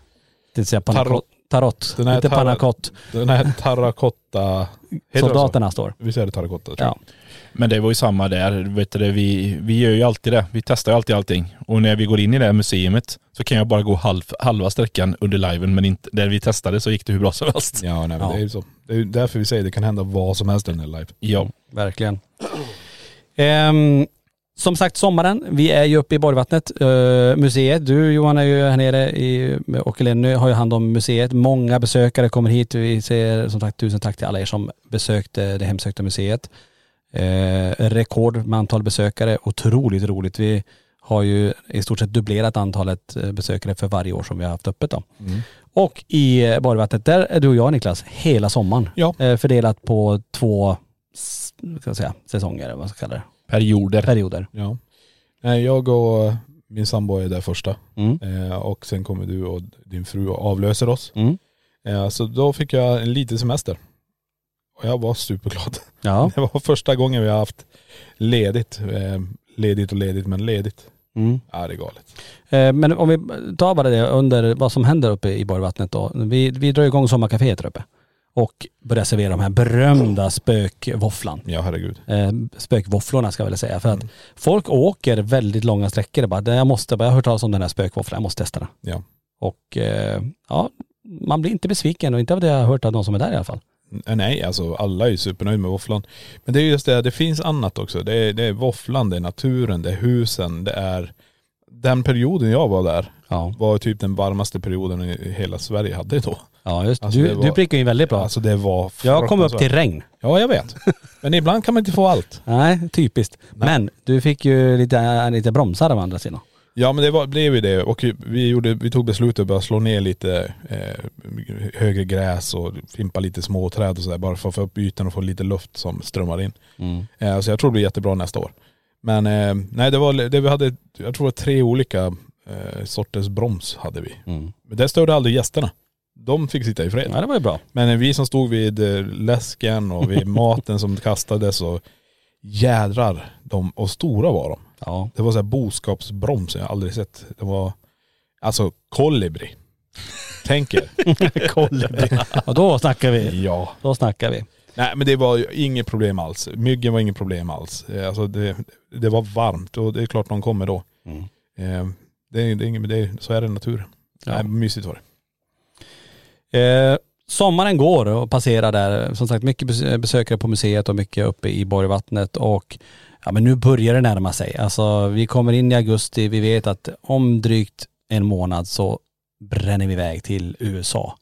[SPEAKER 2] Det säga
[SPEAKER 4] Tarot.
[SPEAKER 2] tarot. tarot.
[SPEAKER 4] Den här
[SPEAKER 2] Inte
[SPEAKER 4] tarot-
[SPEAKER 2] panakott.
[SPEAKER 4] Den här terrakotta... heter det så?
[SPEAKER 2] Soldaterna står.
[SPEAKER 4] Visst är det terrakotta? tror
[SPEAKER 2] Ja.
[SPEAKER 4] jag.
[SPEAKER 3] Men det var ju samma där, vet du, det, vi, vi gör ju alltid det. Vi testar ju alltid allting. Och när vi går in i det här museet så kan jag bara gå halv, halva sträckan under liven men inte, där vi testade så gick det hur bra som helst.
[SPEAKER 4] Ja, nej, men
[SPEAKER 2] Ja.
[SPEAKER 4] det är ju så. Det är ju därför vi säger det kan hända vad som helst under live.
[SPEAKER 3] Ja.
[SPEAKER 2] Verkligen. Ehm, som sagt, sommaren. Vi är ju uppe i Borgvattnet, eh, museet. Du Johan är ju här nere i, och Lenny har ju hand om museet. Många besökare kommer hit. Vi säger som sagt tusen tack till alla er som besökte det hemsökta museet. Eh, rekord med antal besökare. Otroligt roligt. Vi har ju i stort sett dubblerat antalet eh, besökare för varje år som vi har haft öppet då.
[SPEAKER 3] Mm.
[SPEAKER 2] Och i eh, Borgvattnet, där är du och jag Niklas, hela sommaren.
[SPEAKER 3] Ja.
[SPEAKER 2] Eh, fördelat på två s- vad ska jag säga, säsonger, eller vad man ska kalla det,
[SPEAKER 3] Perioder.
[SPEAKER 2] perioder.
[SPEAKER 4] Ja. Nej, jag och eh, min sambo är där första.
[SPEAKER 2] Mm.
[SPEAKER 4] Eh, och sen kommer du och din fru och avlöser oss.
[SPEAKER 2] Mm.
[SPEAKER 4] Eh, så då fick jag en liten semester. Och jag var superglad.
[SPEAKER 2] Ja.
[SPEAKER 4] Det var första gången vi har haft ledigt. Eh, ledigt och ledigt, men ledigt.
[SPEAKER 2] Mm.
[SPEAKER 4] Ja, det är galet.
[SPEAKER 2] Eh, Men om vi tar bara det under vad som händer uppe i Borgvattnet då. Vi, vi drar igång sommarkaféet där uppe och börjar servera de här berömda spökvåfflan.
[SPEAKER 4] Ja, herregud.
[SPEAKER 2] Eh, spökvåfflorna ska jag väl säga. För
[SPEAKER 4] Mm.
[SPEAKER 2] att folk åker väldigt långa sträckor och bara, "Det- jag måste, jag har hört talas om den här spökvåfflan, jag måste testa den.
[SPEAKER 4] Ja.
[SPEAKER 2] Och eh, ja, man blir inte besviken och inte av det jag har hört av de som är där i alla fall.
[SPEAKER 4] Eh, Nej, alltså alla är ju supernöjda med våfflan. Men det är just det, det finns annat också. Det är, det är våfflan, det är naturen, det är husen, det är.. Den perioden jag var där
[SPEAKER 2] Ja,
[SPEAKER 4] var typ den varmaste perioden i- i hela Sverige hade då.
[SPEAKER 2] ja just
[SPEAKER 4] Alltså,
[SPEAKER 2] du,
[SPEAKER 4] det var-
[SPEAKER 2] du prickar ju väldigt bra.
[SPEAKER 4] Alltså det var
[SPEAKER 2] jag kom upp till
[SPEAKER 4] fruktansvärt.
[SPEAKER 2] regn.
[SPEAKER 4] Ja, jag vet. Men ibland kan man inte få allt.
[SPEAKER 2] Nej, typiskt. Men du fick ju lite, äh, lite bromsar av andra sidan.
[SPEAKER 4] Ja men det var, blev ju det och vi, gjorde, vi tog beslutet att börja slå ner lite eh, högre gräs och fimpa lite små träd och sådär bara för att få upp ytan och få lite luft som strömmar in.
[SPEAKER 2] Mm,
[SPEAKER 4] Eh, så jag tror det blir jättebra nästa år. Men eh, nej det var, det vi hade, jag tror det var tre olika eh, sorters broms hade vi.
[SPEAKER 2] Mm.
[SPEAKER 4] Men det störde aldrig gästerna. De fick sitta i fred.
[SPEAKER 2] Ja det var ju bra.
[SPEAKER 4] Men eh, vi som stod vid eh, läsken och vid maten som kastades och jädrar de, och stora var de.
[SPEAKER 2] Ja.
[SPEAKER 4] Det var så här boskapsbroms, jag har aldrig sett. Det var, alltså kolibri. Tänk er.
[SPEAKER 2] Kolibri. Och då snackar vi.
[SPEAKER 4] ja.
[SPEAKER 2] Då snackar vi.
[SPEAKER 4] Nej men det var ju inget problem alls. Myggen var inget problem alls. Eh, Alltså det, det var varmt och det är klart de kommer då.
[SPEAKER 2] Mm.
[SPEAKER 4] Eh, Det är, det är, inget- men det är, så är det i naturen.
[SPEAKER 2] Ja.
[SPEAKER 4] Nej, mysigt var det.
[SPEAKER 2] Eh, sommaren går och passerar där. Som sagt mycket bes- besökare på museet och mycket uppe i Borgvattnet och ja men nu börjar det närma sig. Alltså vi kommer in i augusti, vi vet att om drygt en månad så bränner vi iväg till USA.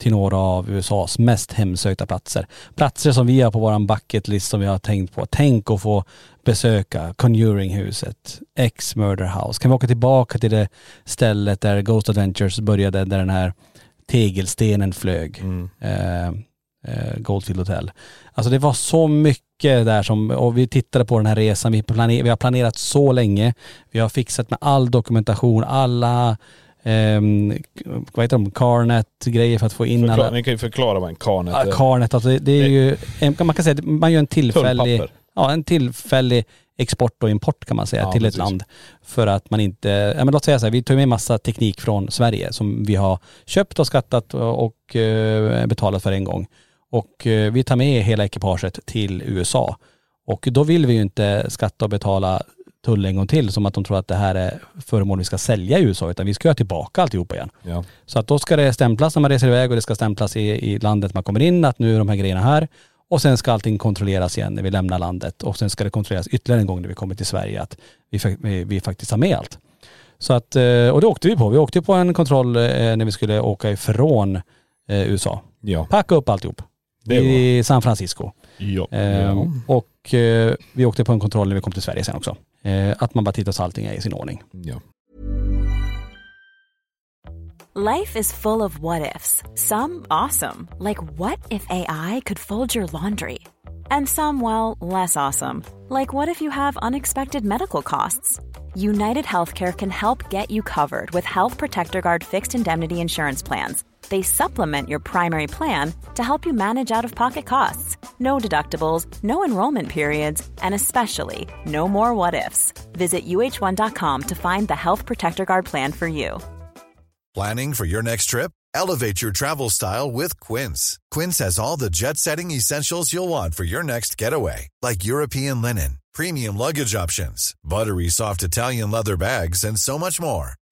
[SPEAKER 2] Till några av USAs mest hemsökta platser. Platser som vi har på våran bucket list som vi har tänkt på. Tänk att få besöka Conjuring-huset, X-Murder House. Kan vi åka tillbaka till det stället där Ghost Adventures började, där den här tegelstenen flög. Eh, eh, Goldfield Hotel. Alltså det var så mycket där som, och vi tittade på den här resan, vi, planer, vi har planerat så länge. Vi har fixat med all dokumentation, alla, ehm, vad heter de, Carnet-grejer för att få in
[SPEAKER 4] Förklara,
[SPEAKER 2] alla.
[SPEAKER 4] ni kan ju förklara vad en karnet
[SPEAKER 2] Ja,
[SPEAKER 4] är.
[SPEAKER 2] Carnet, alltså det, det är ju, en, man kan säga att man gör en tillfällig,
[SPEAKER 4] Tullpapper.
[SPEAKER 2] ja, en tillfällig export och import kan man säga
[SPEAKER 4] Ja,
[SPEAKER 2] till
[SPEAKER 4] precis.
[SPEAKER 2] ett land. För att man inte, ja men låt säga så här, vi tar med massa teknik från Sverige som vi har köpt och skattat och, och eh, betalat för en gång. Och eh, vi tar med hela ekipaget till USA. Och då vill vi ju inte skatta och betala tull en gång till som att de tror att det här är föremål vi ska sälja i USA utan vi ska göra tillbaka alltihopa igen.
[SPEAKER 4] Ja.
[SPEAKER 2] Så att då ska det stämplas när man reser iväg och det ska stämplas i, i landet man kommer in att nu är de här grejerna här. Och sen ska allting kontrolleras igen när vi lämnar landet och sen ska det kontrolleras ytterligare en gång när vi kommer till Sverige att vi, fak- vi, vi faktiskt har med allt. Så att, eh, och det åkte vi på. Vi åkte på en kontroll eh, när vi skulle åka ifrån eh, USA.
[SPEAKER 4] Ja.
[SPEAKER 2] Packa upp alltihop.
[SPEAKER 4] Det
[SPEAKER 2] I San Francisco.
[SPEAKER 4] Ja.
[SPEAKER 2] Ehm,
[SPEAKER 4] ja.
[SPEAKER 2] Och eh, vi åkte på en kontroll när vi kom till Sverige sen också. Eh, att man bara tittar så allting är i sin ordning.
[SPEAKER 4] ja.
[SPEAKER 5] Life is full of what ifs. Some awesome, like what if AI could fold your laundry? And some, well, less awesome, like what if you have unexpected medical costs? United Healthcare can help get you covered with Health Protector Guard fixed indemnity insurance plans. They supplement your primary plan to help you manage out of pocket costs. No deductibles, no enrollment periods, and especially no more what ifs. Visit uh1.com to find the Health Protector Guard plan for you.
[SPEAKER 6] Planning for your next trip? Elevate your travel style with Quince. Quince has all the jet setting essentials you'll want for your next getaway, like European linen, premium luggage options, buttery soft Italian leather bags, and so much more.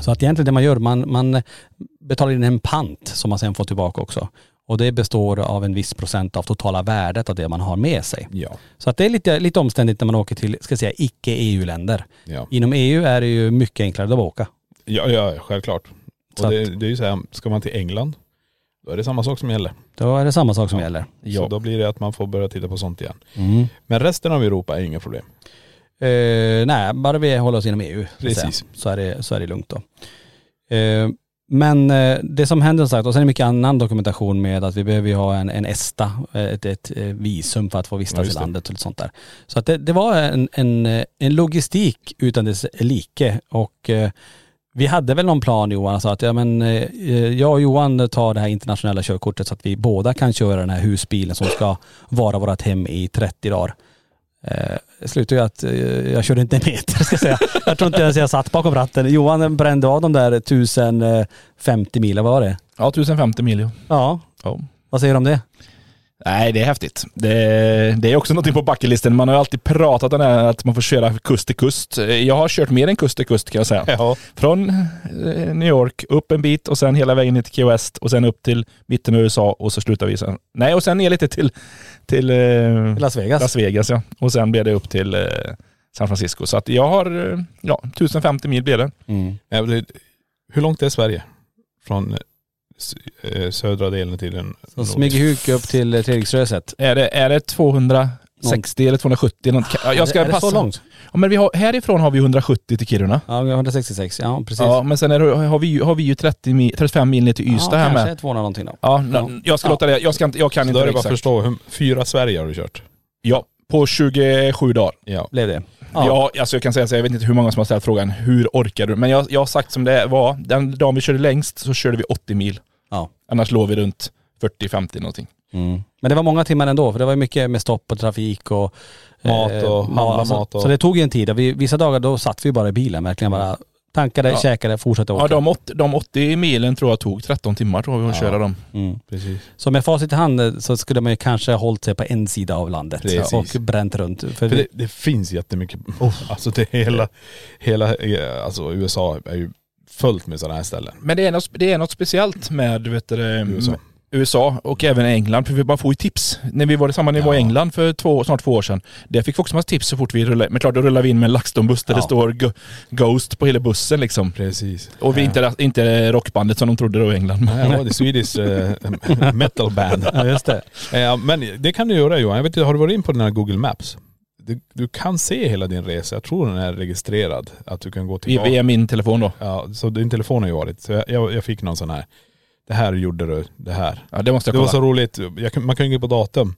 [SPEAKER 2] Så att egentligen det man gör, man, man betalar in en pant som man sen får tillbaka också. Och det består av en viss procent av totala värdet av det man har med sig.
[SPEAKER 4] Ja.
[SPEAKER 2] Så att det är lite, lite omständigt när man åker till, ska jag säga, icke-EU-länder.
[SPEAKER 4] Ja.
[SPEAKER 2] Inom EU är det ju mycket enklare att åka.
[SPEAKER 4] Ja, ja självklart.
[SPEAKER 2] Så
[SPEAKER 4] Och det,
[SPEAKER 2] att-
[SPEAKER 4] det är ju så här, ska man till England, då är det samma sak som gäller.
[SPEAKER 2] Då är det samma sak som
[SPEAKER 4] Ja.
[SPEAKER 2] gäller.
[SPEAKER 4] Så då blir det att man får börja titta på sånt igen.
[SPEAKER 2] Mm.
[SPEAKER 4] Men resten av Europa är inga problem.
[SPEAKER 2] Eh, nej, bara vi håller oss inom EU. så att
[SPEAKER 4] Precis.
[SPEAKER 2] säga, Så är det, så är det lugnt då. Eh, men eh, det som händer som sagt, och sen är det mycket annan dokumentation med att vi behöver ju ha en, en ESTA, eh, ett, ett eh, visum för att få
[SPEAKER 4] Ja,
[SPEAKER 2] vistas
[SPEAKER 4] just
[SPEAKER 2] i
[SPEAKER 4] det.
[SPEAKER 2] landet och lite sånt där. Så att det, det var en, en, eh, en logistik utan dess like och eh, vi hade väl någon plan Johan, så att ja, men, eh, jag och Johan tar det här internationella körkortet så att vi båda kan köra den här husbilen som ska vara vårt hem i 30 dagar. Eh, det slutade ju att eh, jag körde inte en meter ska jag säga. Jag tror inte ens jag satt bakom ratten. Johan brände av de där eh, 1050 milen, vad var det?
[SPEAKER 3] Ja, 1050 mil. ja.
[SPEAKER 2] Ja,
[SPEAKER 3] Ja.
[SPEAKER 2] vad säger du om det?
[SPEAKER 3] Nej, det är häftigt. Det, det är också någonting på bucketlisten. Man har ju alltid pratat om det här att man får köra kust till kust. Jag har kört mer än kust till kust kan jag säga.
[SPEAKER 4] Ja.
[SPEAKER 3] Från eh, New York, upp en bit och sen hela vägen ner till Key West och sen upp till mitten av USA och så slutar vi sen. Nej, och sen ner lite till, till eh,
[SPEAKER 2] Las Vegas.
[SPEAKER 3] Las Vegas ja. Och sen blir det upp till eh, San Francisco. Så att jag har, eh, ja, 1050 mil blir det.
[SPEAKER 2] Mm.
[SPEAKER 4] Ja, men det- Hur långt är Sverige? Från s- eh, södra delen till den
[SPEAKER 2] Så Smygehuk upp till eh, Treriksröset. Ah,
[SPEAKER 3] Är det, är det 260 eller 270? Något, Ja, jag ska
[SPEAKER 2] är det,
[SPEAKER 3] passa.
[SPEAKER 2] Är det så långt?
[SPEAKER 3] Ja, men vi har, härifrån har vi 170 till Kiruna.
[SPEAKER 2] Ja, 166. Ja, precis.
[SPEAKER 3] Ja, men sen är, det- har, vi, ju- har vi ju 30 mil, 35 mil ner till Ystad här
[SPEAKER 2] kanske
[SPEAKER 3] med.
[SPEAKER 2] 200 någonting då.
[SPEAKER 3] Ja, n- jag ska låta det, jag, ska inte, jag kan
[SPEAKER 4] Så
[SPEAKER 3] inte
[SPEAKER 4] då är
[SPEAKER 3] det
[SPEAKER 4] det bara att
[SPEAKER 3] exakt.
[SPEAKER 4] förstå, hur- fyra Sverige har du kört.
[SPEAKER 3] Ja, på 27 dagar.
[SPEAKER 4] Ja.
[SPEAKER 2] Blev det.
[SPEAKER 3] Ja, alltså jag kan säga så, jag vet inte hur många som har ställt frågan, hur orkar du? Men jag, jag har sagt som det var, den dagen vi körde längst så körde vi 80 mil.
[SPEAKER 2] Ja.
[SPEAKER 3] Annars låg vi runt 40-50 någonting.
[SPEAKER 2] Mm. Men det var många timmar ändå, för det var ju mycket med stopp och trafik och
[SPEAKER 4] Mat och
[SPEAKER 2] ja,
[SPEAKER 4] handla
[SPEAKER 2] alltså,
[SPEAKER 4] mat och-
[SPEAKER 2] Så det tog ju en tid. Vi, vissa dagar då satt vi bara i bilen, verkligen bara tankade,
[SPEAKER 3] Ja.
[SPEAKER 2] käkade, fortsatte åka.
[SPEAKER 3] Ja, de, åt, de 80 milen tror jag tog 13 timmar tror jag vi att köra dem.
[SPEAKER 2] mm.
[SPEAKER 4] Precis.
[SPEAKER 2] Så med facit i hand eh, så skulle man ju kanske ha hållit sig på en sida av landet
[SPEAKER 4] Precis.
[SPEAKER 2] och bränt runt. För
[SPEAKER 4] För det,
[SPEAKER 2] vi,
[SPEAKER 4] det finns jättemycket. Alltså det är hela, hela eh, alltså USA är ju fullt med sådana här ställen.
[SPEAKER 3] Men det är något, det är något speciellt med vet du,
[SPEAKER 4] USA.
[SPEAKER 3] USA. USA och även England, för vi bara får ju tips. När vi var i samma nivå i England för två, snart två år sedan, där fick vi också massa tips så fort vi rullade. Men klart, då rullade vi in med en LaxTon-buss där det står Go- Ghost på hela bussen liksom.
[SPEAKER 4] Precis.
[SPEAKER 3] Och vi inte, inte rockbandet som de trodde då i England.
[SPEAKER 4] Ja, det är Swedish eh, metal band.
[SPEAKER 2] ja just det.
[SPEAKER 4] Eh, Men det kan du göra Johan. Jag vet inte, har du varit in på den här Google Maps? Du, du kan se hela din resa. Jag tror den är registrerad. Att du kan gå
[SPEAKER 3] Vi-
[SPEAKER 4] tillbaka.
[SPEAKER 3] Via min telefon då.
[SPEAKER 4] Ja, så din telefon har ju varit. Så jag, jag, jag fick någon sån här. Det här gjorde du, det här.
[SPEAKER 3] Ja, det måste jag
[SPEAKER 4] Det var
[SPEAKER 3] kolla.
[SPEAKER 4] så roligt. Jag, kan- man kan ju gå på datum.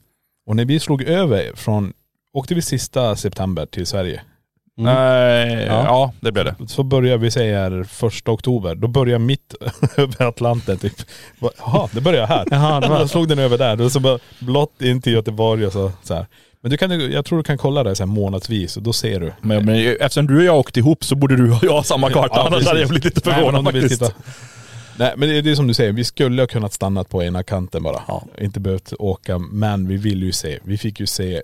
[SPEAKER 4] Och när vi slog över från, åkte vi sista september till Sverige.
[SPEAKER 3] Mm. Eh,
[SPEAKER 4] Ja.
[SPEAKER 3] ja. det blev det.
[SPEAKER 4] Så börjar vi säger första oktober. Då börjar mitt över Atlanten typ. Bara, Jaha, det börjar här.
[SPEAKER 2] Jaha, det var-
[SPEAKER 4] Då slog den över där. Då så bara blått in till Göteborg och så, så här. Men du kan, ju- jag tror du kan kolla det så här månadsvis och då ser du.
[SPEAKER 3] Men, men eftersom du och jag åkte ihop så borde du och jag ha samma karta. Annars
[SPEAKER 4] precis.
[SPEAKER 3] hade jag blivit lite
[SPEAKER 4] Nej, men
[SPEAKER 3] förvånad
[SPEAKER 4] om du vill
[SPEAKER 3] faktiskt.
[SPEAKER 4] titta. Nej men det är det är som du säger, vi skulle ha kunnat stannat på ena kanten bara.
[SPEAKER 2] Ja.
[SPEAKER 4] Inte behövt åka, men vi vill ju se. Vi fick ju se eh,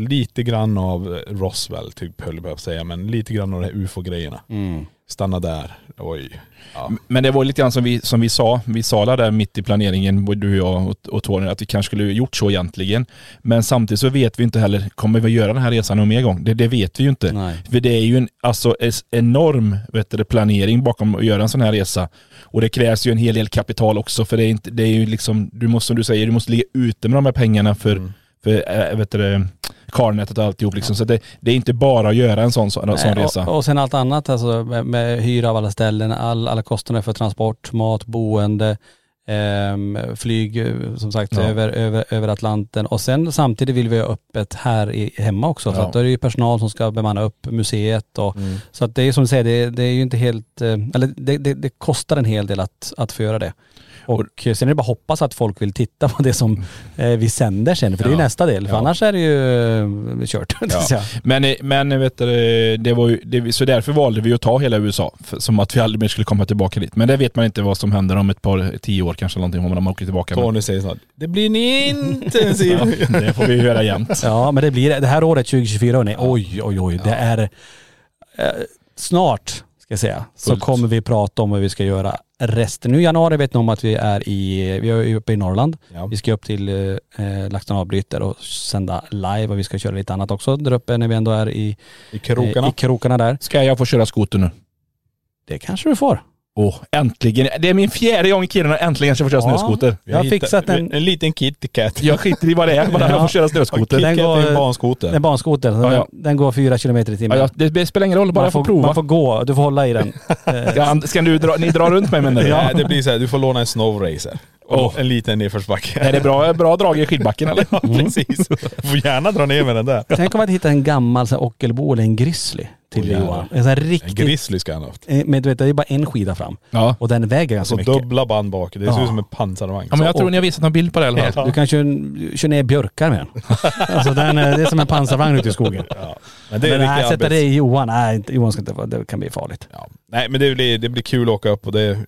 [SPEAKER 4] lite grann av eh, Roswell, typ höll jag på att säga, men lite grann av de här ufo-grejerna. Stanna där, oj. Ja.
[SPEAKER 3] Men det var lite grann som vi, som vi sa, vi sa där mitt i planeringen, både du och jag och, och Tony, att vi kanske skulle gjort så egentligen. Men samtidigt så vet vi inte heller, kommer vi göra den här resan någon mer gång? Det, det vet vi ju inte.
[SPEAKER 2] Nej.
[SPEAKER 3] För det är ju en alltså, es- enorm vet du, planering bakom att göra en sån här resa. Och det krävs ju en hel del kapital också, för det är, inte, det är ju liksom, du måste som du säger, du måste ligga ute med de här pengarna för,
[SPEAKER 2] Mm.
[SPEAKER 3] för äh, vet du, det, karnätet och alltihop. Liksom. Så det, det är inte bara att göra en sån, sån, sån
[SPEAKER 2] Nej,
[SPEAKER 3] resa.
[SPEAKER 2] Och, och sen allt annat alltså med, med hyra av alla ställen, all, alla kostnader för transport, mat, boende, ehm, flyg eh, som sagt
[SPEAKER 3] Ja.
[SPEAKER 2] över, över, över Atlanten. Och sen samtidigt vill vi ha öppet här i, hemma också. Så
[SPEAKER 3] Ja. Mm.
[SPEAKER 2] att då är det ju personal som ska bemanna upp museet. Och, Så att det är ju som du säger, det, det är ju inte helt, eh, eller det, det, det kostar en hel del att, att få göra det. Och eh, sen är det bara att hoppas att folk vill titta på det som eh, vi sänder sen, för det är ju
[SPEAKER 3] Mm. Ja.
[SPEAKER 2] nästa del. För
[SPEAKER 3] Ja.
[SPEAKER 2] annars är det ju eh, kört. så att
[SPEAKER 3] Ja.
[SPEAKER 2] säga.
[SPEAKER 3] Men, eh, men vet du, eh, det var ju, det, så därför valde vi att ta hela USA, för, som att vi aldrig mer skulle komma tillbaka dit. Men det vet man inte vad som händer om ett par, eh, tio år kanske någonting, om de åker tillbaka. Men,
[SPEAKER 4] Tony säger snart, det blir en intensiv...
[SPEAKER 3] det får vi ju höra jämt.
[SPEAKER 2] Ja men det blir det. Det här året 2024 hörni, oj oj oj. Det är eh, snart, ska ska jag säga, så
[SPEAKER 3] Fullt.
[SPEAKER 2] kommer vi prata om vad vi ska göra resten. Nu i januari vet ni om att vi är i, vi är ju uppe i Norrland.
[SPEAKER 4] Ja.
[SPEAKER 2] Vi ska upp till eh, LaxTon avbryter och sända live och vi ska köra lite annat också där uppe när vi ändå är i
[SPEAKER 4] I krokarna.
[SPEAKER 2] eh, i krokarna där.
[SPEAKER 3] Ska jag få köra skoter nu?
[SPEAKER 2] Det kanske du får.
[SPEAKER 3] Åh, äntligen. Det är min fjärde gång i Kiruna äntligen ska jag få köra
[SPEAKER 2] Ja.
[SPEAKER 3] snöskoter.
[SPEAKER 2] Jag har fixat en-
[SPEAKER 4] en liten KitKat.
[SPEAKER 3] Jag skiter i vad det är, bara jag får köra snöskoter.
[SPEAKER 2] Den
[SPEAKER 4] KitKat är
[SPEAKER 2] går-
[SPEAKER 4] en barnskoter.
[SPEAKER 2] Den barnskotern,
[SPEAKER 3] Ja, ja.
[SPEAKER 2] den går fyra kilometer i timmen.
[SPEAKER 3] Ja, jag, det spelar ingen roll, bara
[SPEAKER 2] man,
[SPEAKER 3] jag får
[SPEAKER 2] man
[SPEAKER 3] prova.
[SPEAKER 2] får gå, du får hålla i den. Eh,
[SPEAKER 3] Ja, ska du dra, ni drar runt mig menar du?
[SPEAKER 4] Nej, det blir så här, du får låna en snowracer. Och
[SPEAKER 3] Åh.
[SPEAKER 4] en liten nedförsbacke.
[SPEAKER 3] Är det bra, bra drag i skidbacken eller?
[SPEAKER 4] Ja,
[SPEAKER 2] Mm.
[SPEAKER 4] precis. Du får gärna dra ner med den där.
[SPEAKER 2] Tänk om man hittar en gammal så här, ockelbo eller en grizzly till
[SPEAKER 4] Åh,
[SPEAKER 2] dig
[SPEAKER 4] Oh, jävlar.
[SPEAKER 2] Johan. En sån här
[SPEAKER 4] En
[SPEAKER 2] riktigt,
[SPEAKER 4] grizzly ska han ha haft.
[SPEAKER 2] eh, men du vet det är bara en skida fram.
[SPEAKER 3] Ja.
[SPEAKER 2] Och den väger ganska
[SPEAKER 4] Alltså
[SPEAKER 2] mycket.
[SPEAKER 4] dubbla band bak. Det ser
[SPEAKER 2] Ja.
[SPEAKER 4] ut som en pansarvagn.
[SPEAKER 3] Ja, men jag tror ni har visat någon bild på det i alla fall.
[SPEAKER 2] Du kan köra, köra ner björkar med den. alltså den är, det är som en pansarvagn ute i skogen.
[SPEAKER 4] Ja. Men det
[SPEAKER 2] Det
[SPEAKER 4] är
[SPEAKER 2] men nej,
[SPEAKER 4] riktigt
[SPEAKER 2] sätta det
[SPEAKER 4] arbets...
[SPEAKER 2] i Johan. Nej, inte, Johan ska inte vara- det kan bli farligt.
[SPEAKER 4] Ja. Nej men det blir, det blir kul att åka upp och det,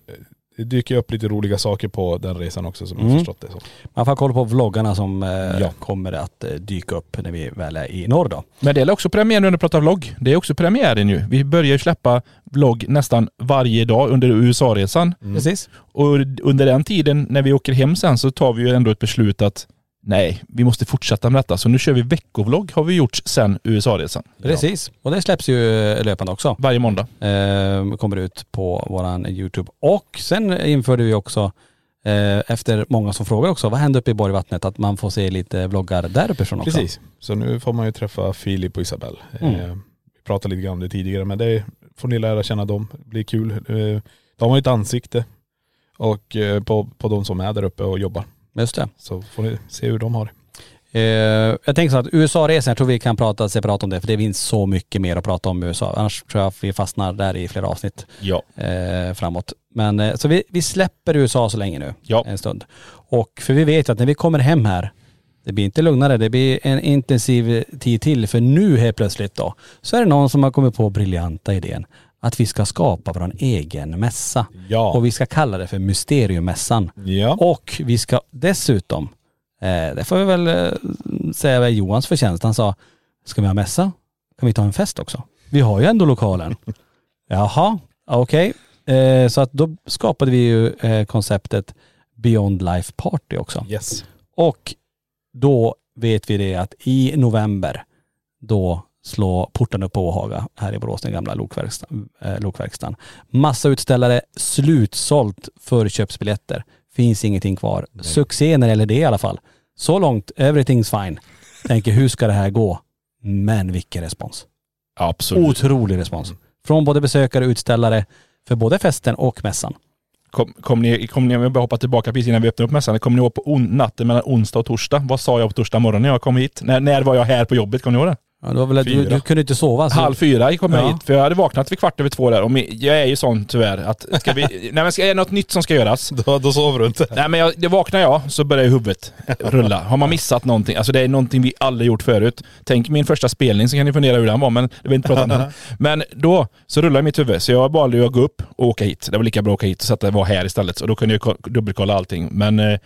[SPEAKER 4] det dyker upp lite roliga saker på den resan också som jag
[SPEAKER 2] Mm.
[SPEAKER 4] har förstått det som.
[SPEAKER 2] Man får kolla på vloggarna som eh,
[SPEAKER 4] Ja.
[SPEAKER 2] kommer att eh, dyka upp när vi väl är i norr då.
[SPEAKER 3] Men det är också premiär nu när du pratar vlogg. Det är också premiären nu. Vi börjar ju släppa vlogg nästan varje dag under USA-resan.
[SPEAKER 2] Precis.
[SPEAKER 3] Och under den tiden när vi åker hem sen så tar vi ju ändå ett beslut att nej, vi måste fortsätta med detta. Så nu kör vi veckovlogg har vi gjort sen USA-resan.
[SPEAKER 2] Precis. Och det släpps ju eh, löpande också.
[SPEAKER 3] Varje måndag.
[SPEAKER 2] eh, kommer ut på våran Youtube. Och sen införde vi också, eh, efter många som frågar också, vad händer uppe i Borgvattnet? Att man får se lite vloggar där uppifrån också.
[SPEAKER 4] Precis. Så nu får man ju träffa Filip och Isabel. Eh, vi pratade lite grann om det tidigare men det får ni lära känna dem. Det blir kul. Eh, de har ju ett ansikte och eh, på, på de som är där uppe och jobbar.
[SPEAKER 2] Just det.
[SPEAKER 4] Så får ni se hur de har det.
[SPEAKER 2] Eh, jag tänker så att USA-resan, jag tror vi kan prata separat om det, för det finns så mycket mer att prata om i USA. Annars tror jag att vi fastnar där i flera avsnitt
[SPEAKER 3] Ja.
[SPEAKER 2] eh, framåt. Men eh, så vi, vi släpper USA så länge nu,
[SPEAKER 3] Ja.
[SPEAKER 2] en stund. Och för vi vet ju att när vi kommer hem här, det blir inte lugnare, det blir en intensiv tid till. För nu helt plötsligt då, så är det någon som har kommit på briljanta idén att vi ska skapa vår egen mässa.
[SPEAKER 4] Ja.
[SPEAKER 2] Och vi ska kalla det för Mysteriummässan.
[SPEAKER 4] Ja.
[SPEAKER 2] Och vi ska dessutom, eh, det får vi väl eh, säga är Johans förtjänst, han sa, ska vi ha mässa? Kan vi ta en fest också? Vi har ju ändå lokalen. Jaha, okej. Eh, så att då skapade vi ju eh, konceptet Beyond Life Party också.
[SPEAKER 4] Yes.
[SPEAKER 2] Och då vet vi det att i november, då slår porten upp på Åhaga här i Borås, den gamla lokverkstan, eh, lokverkstan. Massa utställare, slutsålt förköpsbiljetter. Finns ingenting kvar. Succé när det gäller det i alla fall. Så långt, everything's fine. Tänker hur ska det här gå? Men vilken respons.
[SPEAKER 3] Absolut.
[SPEAKER 2] Otrolig respons. Från både besökare och utställare för både festen och mässan.
[SPEAKER 3] Kom, kom ni, kom ni, jag bara hoppa tillbaka precis innan vi öppnade upp mässan. Kommer ni ihåg på on, natten mellan onsdag och torsdag? Vad sa jag på torsdag morgon när jag kom hit? När, när var jag här på jobbet? Kommer ni ihåg det?
[SPEAKER 2] Ja, det var väl att du,
[SPEAKER 4] Fyra.
[SPEAKER 2] du kunde inte sova.
[SPEAKER 4] Alltså-
[SPEAKER 2] Så
[SPEAKER 3] Halv fyra kom jag
[SPEAKER 2] Ja.
[SPEAKER 3] hit, för jag hade vaknat vid kvart över två där. Och min- jag är ju sån tyvärr att, ska vi, nej men ska, är det något nytt som ska göras?
[SPEAKER 4] Då, då sover du inte.
[SPEAKER 3] Nej men jag, det vaknar jag så börjar ju huvudet rulla. Har man missat någonting, alltså det är någonting vi aldrig gjort förut. Tänk min första spelning så kan ni fundera hur den var men det vill jag inte prata om den. Men då så rullar mitt huvud så jag valde ju att gå upp och åka hit. Det var lika bra att åka hit så att det var här istället. Och då kunde jag ko- dubbelkolla allting. Men eh,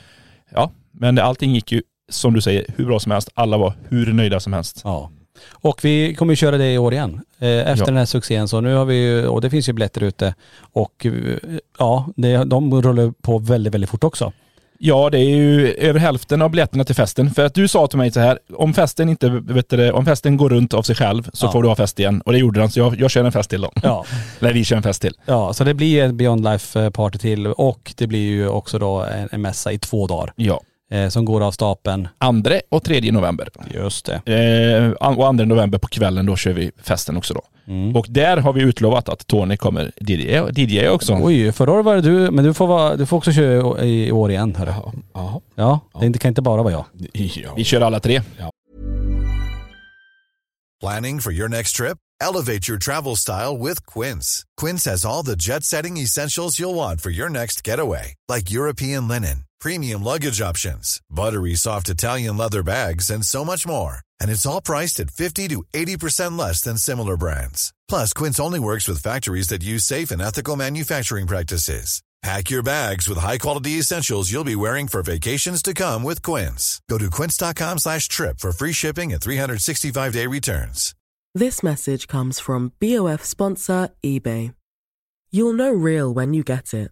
[SPEAKER 3] ja, men allting gick ju som du säger hur bra som helst. Alla var hur nöjda som helst.
[SPEAKER 2] Ja. Och vi kommer ju köra det i år igen. Eh, Efter
[SPEAKER 3] Ja.
[SPEAKER 2] den här succén så nu har vi ju, och det finns ju biljetter ute. Och eh, ja, det, de rullar på väldigt, väldigt fort också.
[SPEAKER 3] Ja, det är ju över hälften av biljetterna till festen. För att du sa till mig så här, om festen, inte, vet du, det, om festen går runt av sig själv så
[SPEAKER 2] Ja.
[SPEAKER 3] får du ha fest igen. Och det gjorde den, så jag, jag kör en fest till då.
[SPEAKER 2] Ja.
[SPEAKER 3] Eller vi kör en fest till.
[SPEAKER 2] ja, så det blir ju en Beyond Life-party till och det blir ju också då en, en mässa i två dagar
[SPEAKER 3] Ja.
[SPEAKER 2] eh, som går av stapeln.
[SPEAKER 3] Andra och tredje november.
[SPEAKER 2] Just det.
[SPEAKER 3] Eh, an- och andra november på kvällen då kör vi festen också då.
[SPEAKER 2] Mm.
[SPEAKER 3] Och där har vi utlovat att Tony kommer DJ, DJ också.
[SPEAKER 2] Oj, förra året var det du, men du får, vara, du får också köra i, i år igen. Hörru.
[SPEAKER 4] Ja. Ja.
[SPEAKER 2] Ja, det inte- kan inte bara vara jag.
[SPEAKER 4] ja.
[SPEAKER 3] Vi kör alla tre.
[SPEAKER 6] Planning for your next trip? Elevate your travel style with Quince. Quince has all the jet setting essentials you'll want for your next getaway, like European linen, premium luggage options, buttery soft Italian leather bags, and so much more. And it's all priced at 50 to 80% less than similar brands. Plus, Quince only works with factories that use safe and ethical manufacturing practices. Pack your bags with high-quality essentials you'll be wearing for vacations to come with Quince. Go to quince.com slash trip for free shipping and 365-day returns.
[SPEAKER 7] This message comes from BOF sponsor eBay. You'll know real when you get it.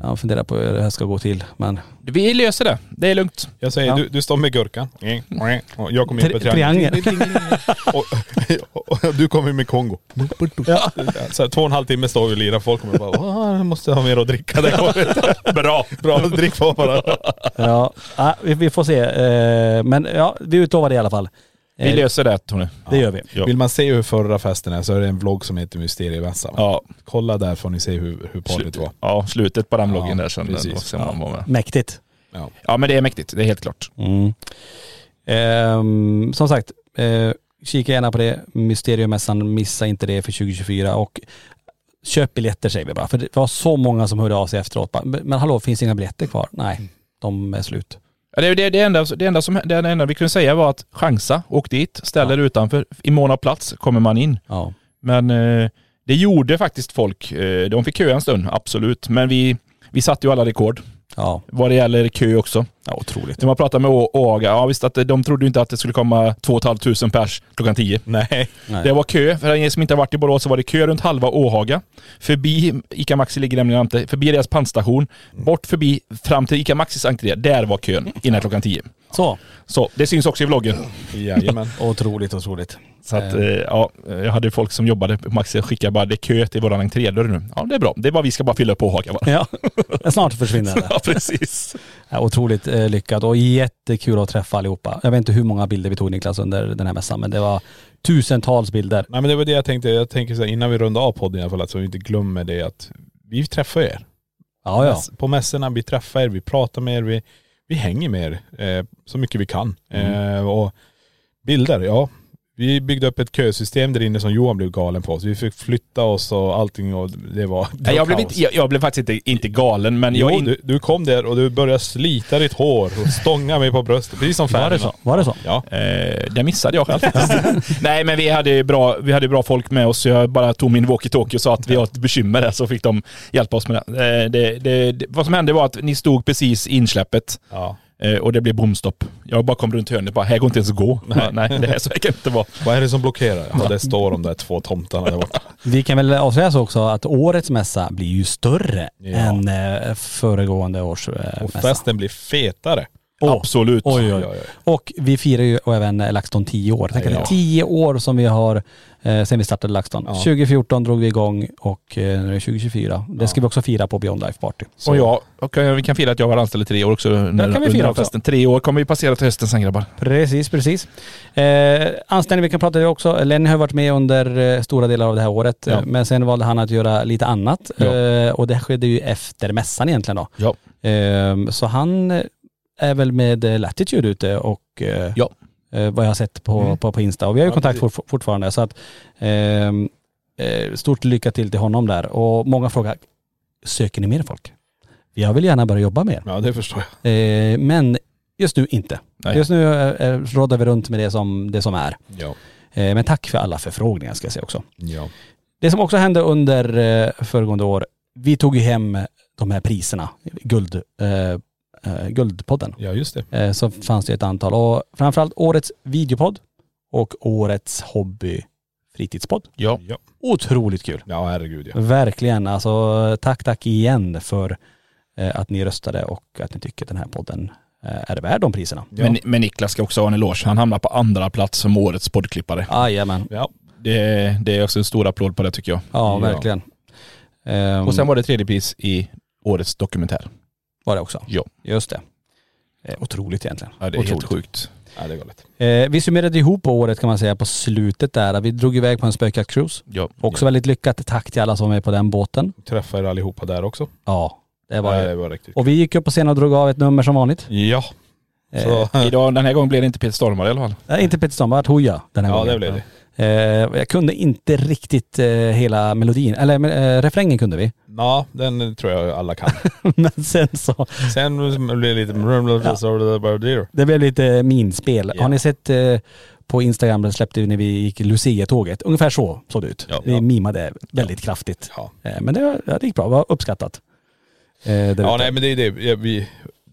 [SPEAKER 2] Jag funderar på hur det här ska gå till. Men
[SPEAKER 3] Vi löser det. Det är lugnt.
[SPEAKER 4] Jag säger,
[SPEAKER 2] Ja.
[SPEAKER 4] du, du står med gurkan. Mm. Och jag kommer in på
[SPEAKER 2] Tri-
[SPEAKER 4] triangeln.
[SPEAKER 2] triangel.
[SPEAKER 4] Och, och, och du kommer in med Kongo.
[SPEAKER 2] Ja.
[SPEAKER 4] Så här, två och en halv timme står vi och lirar. Folk kommer bara, "Åh, jag måste ha mer att dricka. Det går Bra. Bra, drick på bara.
[SPEAKER 2] ja, ja, vi, vi får se. Eh, Men ja, vi utlovar det i alla fall.
[SPEAKER 3] Vi
[SPEAKER 2] Eh,
[SPEAKER 3] löser det Tony.
[SPEAKER 2] Det gör vi.
[SPEAKER 3] Ja.
[SPEAKER 4] Vill man se hur förra festen är så är det en vlogg som heter Mysteriemässan.
[SPEAKER 3] Ja.
[SPEAKER 4] Kolla där får ni se hur, hur parligt var.
[SPEAKER 3] Ja, slutet på den vloggen
[SPEAKER 4] Ja,
[SPEAKER 3] där sen.
[SPEAKER 4] precis.
[SPEAKER 3] Då ser man vad med.
[SPEAKER 2] Mäktigt.
[SPEAKER 4] Ja.
[SPEAKER 3] Ja men det är mäktigt, det är helt klart.
[SPEAKER 2] Mm. Ehm, som sagt, eh, kika gärna på det. Mysteriemässan, missa inte det för 2024. Och köp biljetter säger vi bara. För det var så många som hörde av sig efteråt. Bara, Men men hallå, finns det inga biljetter kvar?
[SPEAKER 3] Mm.
[SPEAKER 2] Nej, de är slut.
[SPEAKER 3] Ja, Det, det, det, enda, det, enda som, det enda vi kunde säga var att chansa, åk dit, ställ er utanför. I mån av plats kommer man in.
[SPEAKER 2] Ja.
[SPEAKER 3] Men eh, det gjorde faktiskt folk. Eh, de fick köa en stund, absolut. Men vi, vi satte ju alla rekord
[SPEAKER 2] Ja.
[SPEAKER 3] vad det gäller kö också.
[SPEAKER 2] ja, otroligt.
[SPEAKER 3] När man pratade med Å- Åga, ja visst att de trodde ju inte att det skulle komma 2 500 pers klockan 10. Nej.
[SPEAKER 2] Nej.
[SPEAKER 3] Det var kö. För den som inte har varit i Borås så var det kö runt halva Åhaga. Förbi Ica Maxi ligger nämligen jämte, förbi deras pantstation,
[SPEAKER 4] Mm.
[SPEAKER 3] bort förbi fram till Ica Maxis entré. Där var kön innan klockan 10.
[SPEAKER 2] Så.
[SPEAKER 3] Så det syns också i vloggen.
[SPEAKER 4] Jajamän.
[SPEAKER 2] Otroligt, otroligt.
[SPEAKER 3] Så att, eh, ja, jag hade folk som jobbade på Maxi och skickade bara det är kö till våran entrédörr nu. Ja det är bra. Det är bara vi ska bara fylla upp Åhaga bara.
[SPEAKER 2] Ja, snart försvinner det.
[SPEAKER 3] Ja precis.
[SPEAKER 2] Ja, otroligt eh, lyckat och jättekul att träffa allihopa. Jag vet inte hur många bilder vi tog Niklas under den här mässan men det var tusentals bilder.
[SPEAKER 4] Nej men det var det jag tänkte. Jag tänker så här, innan vi rundar av podden i alla fall, att så vi inte glömmer det att vi träffar er.
[SPEAKER 2] Ja, ja.
[SPEAKER 4] Mäss- På mässorna, vi träffar er, vi pratar med er, vi, vi hänger med er eh, så mycket vi kan.
[SPEAKER 3] Mm.
[SPEAKER 4] Eh, och bilder, ja. Vi byggde upp ett kösystem där inne som Johan blev galen på. Så vi fick flytta oss och allting och det var.. det
[SPEAKER 3] Nej,
[SPEAKER 4] var
[SPEAKER 3] jag, blev
[SPEAKER 4] kaos.
[SPEAKER 3] inte, jag, jag blev faktiskt inte, inte galen men
[SPEAKER 4] Jo,
[SPEAKER 3] jag... In,
[SPEAKER 4] du, du kom där och du började slita ditt hår och stånga mig på bröstet. Precis som
[SPEAKER 2] Var det
[SPEAKER 4] Ferdinand.
[SPEAKER 2] så? Var det så?
[SPEAKER 4] Ja.
[SPEAKER 3] Eh, det missade jag själv faktiskt. Nej men vi hade, bra, vi hade bra folk med oss så jag bara tog min walkie-talkie och sa att vi har ett bekymmer där så fick de hjälpa oss med det. Eh, det, det, det. Vad som hände var att ni stod precis i insläppet
[SPEAKER 4] ja.
[SPEAKER 3] eh, och det blev bomstopp. Jag bara kom runt hörnet och bara, här går inte ens att gå. Nej, Nej det här så här kan det inte vara.
[SPEAKER 4] Vad är det som blockerar? Ja, det står de där två tomtarna där borta.
[SPEAKER 2] Vi kan väl avslöja så också att årets mässa blir ju större
[SPEAKER 4] Ja.
[SPEAKER 2] än eh, föregående års eh,
[SPEAKER 4] Och
[SPEAKER 2] mässa.
[SPEAKER 4] festen blir fetare.
[SPEAKER 2] Åh.
[SPEAKER 3] Absolut.
[SPEAKER 2] Oj, oj, oj. Och vi firar ju och även eh, LaxTon 10 år. Tänk att det är
[SPEAKER 4] Ja.
[SPEAKER 2] 10 år som vi har eh, sen vi startade LaxTon.
[SPEAKER 4] Ja.
[SPEAKER 2] 2014 drog vi igång och eh, nu är det 2024. Det ska vi också fira på Beyond Life Party.
[SPEAKER 3] Och jag, och eh, vi kan fira att jag var anställd i tre år också. När,
[SPEAKER 2] kan vi
[SPEAKER 3] under
[SPEAKER 2] fira
[SPEAKER 3] den
[SPEAKER 2] också.
[SPEAKER 3] festen. Tre år kommer vi passera till hösten sen grabbar.
[SPEAKER 2] Precis, precis. Eh, anställning, vi kan prata det också. Lenny har varit med under eh, stora delar av det här året.
[SPEAKER 3] Ja.
[SPEAKER 2] Eh, Men sen valde han att göra lite annat.
[SPEAKER 3] Ja.
[SPEAKER 2] Eh, och det skedde ju efter mässan egentligen då.
[SPEAKER 3] Ja.
[SPEAKER 2] Eh, så han eh, är väl med eh, Latitude ute och eh,
[SPEAKER 3] Ja.
[SPEAKER 2] eh, vad jag har sett på,
[SPEAKER 3] Mm.
[SPEAKER 2] på, på Insta. Och vi har ju
[SPEAKER 4] Ja,
[SPEAKER 2] kontakt
[SPEAKER 4] precis.
[SPEAKER 2] for, fortfarande. Så att, ehm, eh, stort lycka till till honom där. Och många frågar, söker ni mer folk? Jag vill gärna börja jobba mer.
[SPEAKER 4] Ja, det förstår jag.
[SPEAKER 2] Eh, men just nu inte.
[SPEAKER 3] Nej.
[SPEAKER 2] Just nu eh, eh, råddar vi runt med det som, det som är.
[SPEAKER 4] Ja.
[SPEAKER 2] Eh, men tack för alla förfrågningar ska jag säga också.
[SPEAKER 4] ja.
[SPEAKER 2] Det som också hände under eh, föregående år vi tog ju hem de här priserna, guld, eh, eh, Guldpodden.
[SPEAKER 4] Ja just det.
[SPEAKER 2] Eh, så fanns det ett antal. Och framförallt årets videopodd och årets hobby fritidspodd.
[SPEAKER 3] Ja.
[SPEAKER 4] Ja,
[SPEAKER 2] Otroligt kul.
[SPEAKER 4] ja herregud
[SPEAKER 2] Mm.
[SPEAKER 4] ja.
[SPEAKER 2] Verkligen. Alltså tack, tack igen för eh, att ni röstade och att ni tycker att den här podden eh, är värd de priserna.
[SPEAKER 4] Ja.
[SPEAKER 3] Men, men Niklas ska också ha en eloge. Han hamnar på andra plats som årets poddklippare.
[SPEAKER 2] Jajamän.
[SPEAKER 4] Ja.
[SPEAKER 3] Det, det är också en stor applåd på det tycker jag.
[SPEAKER 2] Ja,
[SPEAKER 4] Ja.
[SPEAKER 2] verkligen. Ehm,
[SPEAKER 3] Och sen var det tredje pris i årets dokumentär.
[SPEAKER 2] var det också.
[SPEAKER 3] Ja.
[SPEAKER 2] Just det. Eh, otroligt egentligen.
[SPEAKER 3] Ja, det är
[SPEAKER 2] otroligt.
[SPEAKER 3] helt sjukt.
[SPEAKER 4] ja det är galet.
[SPEAKER 2] Eh, vi summerade ihop året kan man säga på slutet där. Vi drog iväg på en spökjaktcruise.
[SPEAKER 3] Ja.
[SPEAKER 2] Också väldigt lyckat. Tack till alla som var med på den båten.
[SPEAKER 4] Träffar er allihopa där också.
[SPEAKER 2] Ja, det var
[SPEAKER 4] Ja,
[SPEAKER 2] det.
[SPEAKER 4] det var riktigt
[SPEAKER 2] Och vi gick upp på scenen och drog av ett nummer som vanligt. Eh,
[SPEAKER 4] Ja. Så,
[SPEAKER 3] eh, Idag, den här gången blev det inte Peter Stormare i alla fall.
[SPEAKER 2] Nej, inte Peter Stormare, det var Hooja den här
[SPEAKER 4] ja
[SPEAKER 2] gången.
[SPEAKER 4] det blev det.
[SPEAKER 2] Eh, jag kunde inte riktigt eh, hela melodin, eller eh, refrängen kunde vi.
[SPEAKER 4] Ja den tror jag alla kan.
[SPEAKER 2] Men sen så,
[SPEAKER 4] Sen blir det lite... Ja.
[SPEAKER 2] det blev lite minspel.
[SPEAKER 4] Ja.
[SPEAKER 2] Har ni sett eh, på Instagram, där släppte vi när vi gick Lucia-tåget, ungefär så såg det ut.
[SPEAKER 4] Ja.
[SPEAKER 2] vi
[SPEAKER 4] Ja.
[SPEAKER 2] mimade väldigt kraftigt.
[SPEAKER 4] Ja.
[SPEAKER 2] Eh, men det, var- ja, det gick bra, det var uppskattat. Eh, där
[SPEAKER 4] Ja
[SPEAKER 2] ute.
[SPEAKER 4] nej men det är det. Ja, Vi,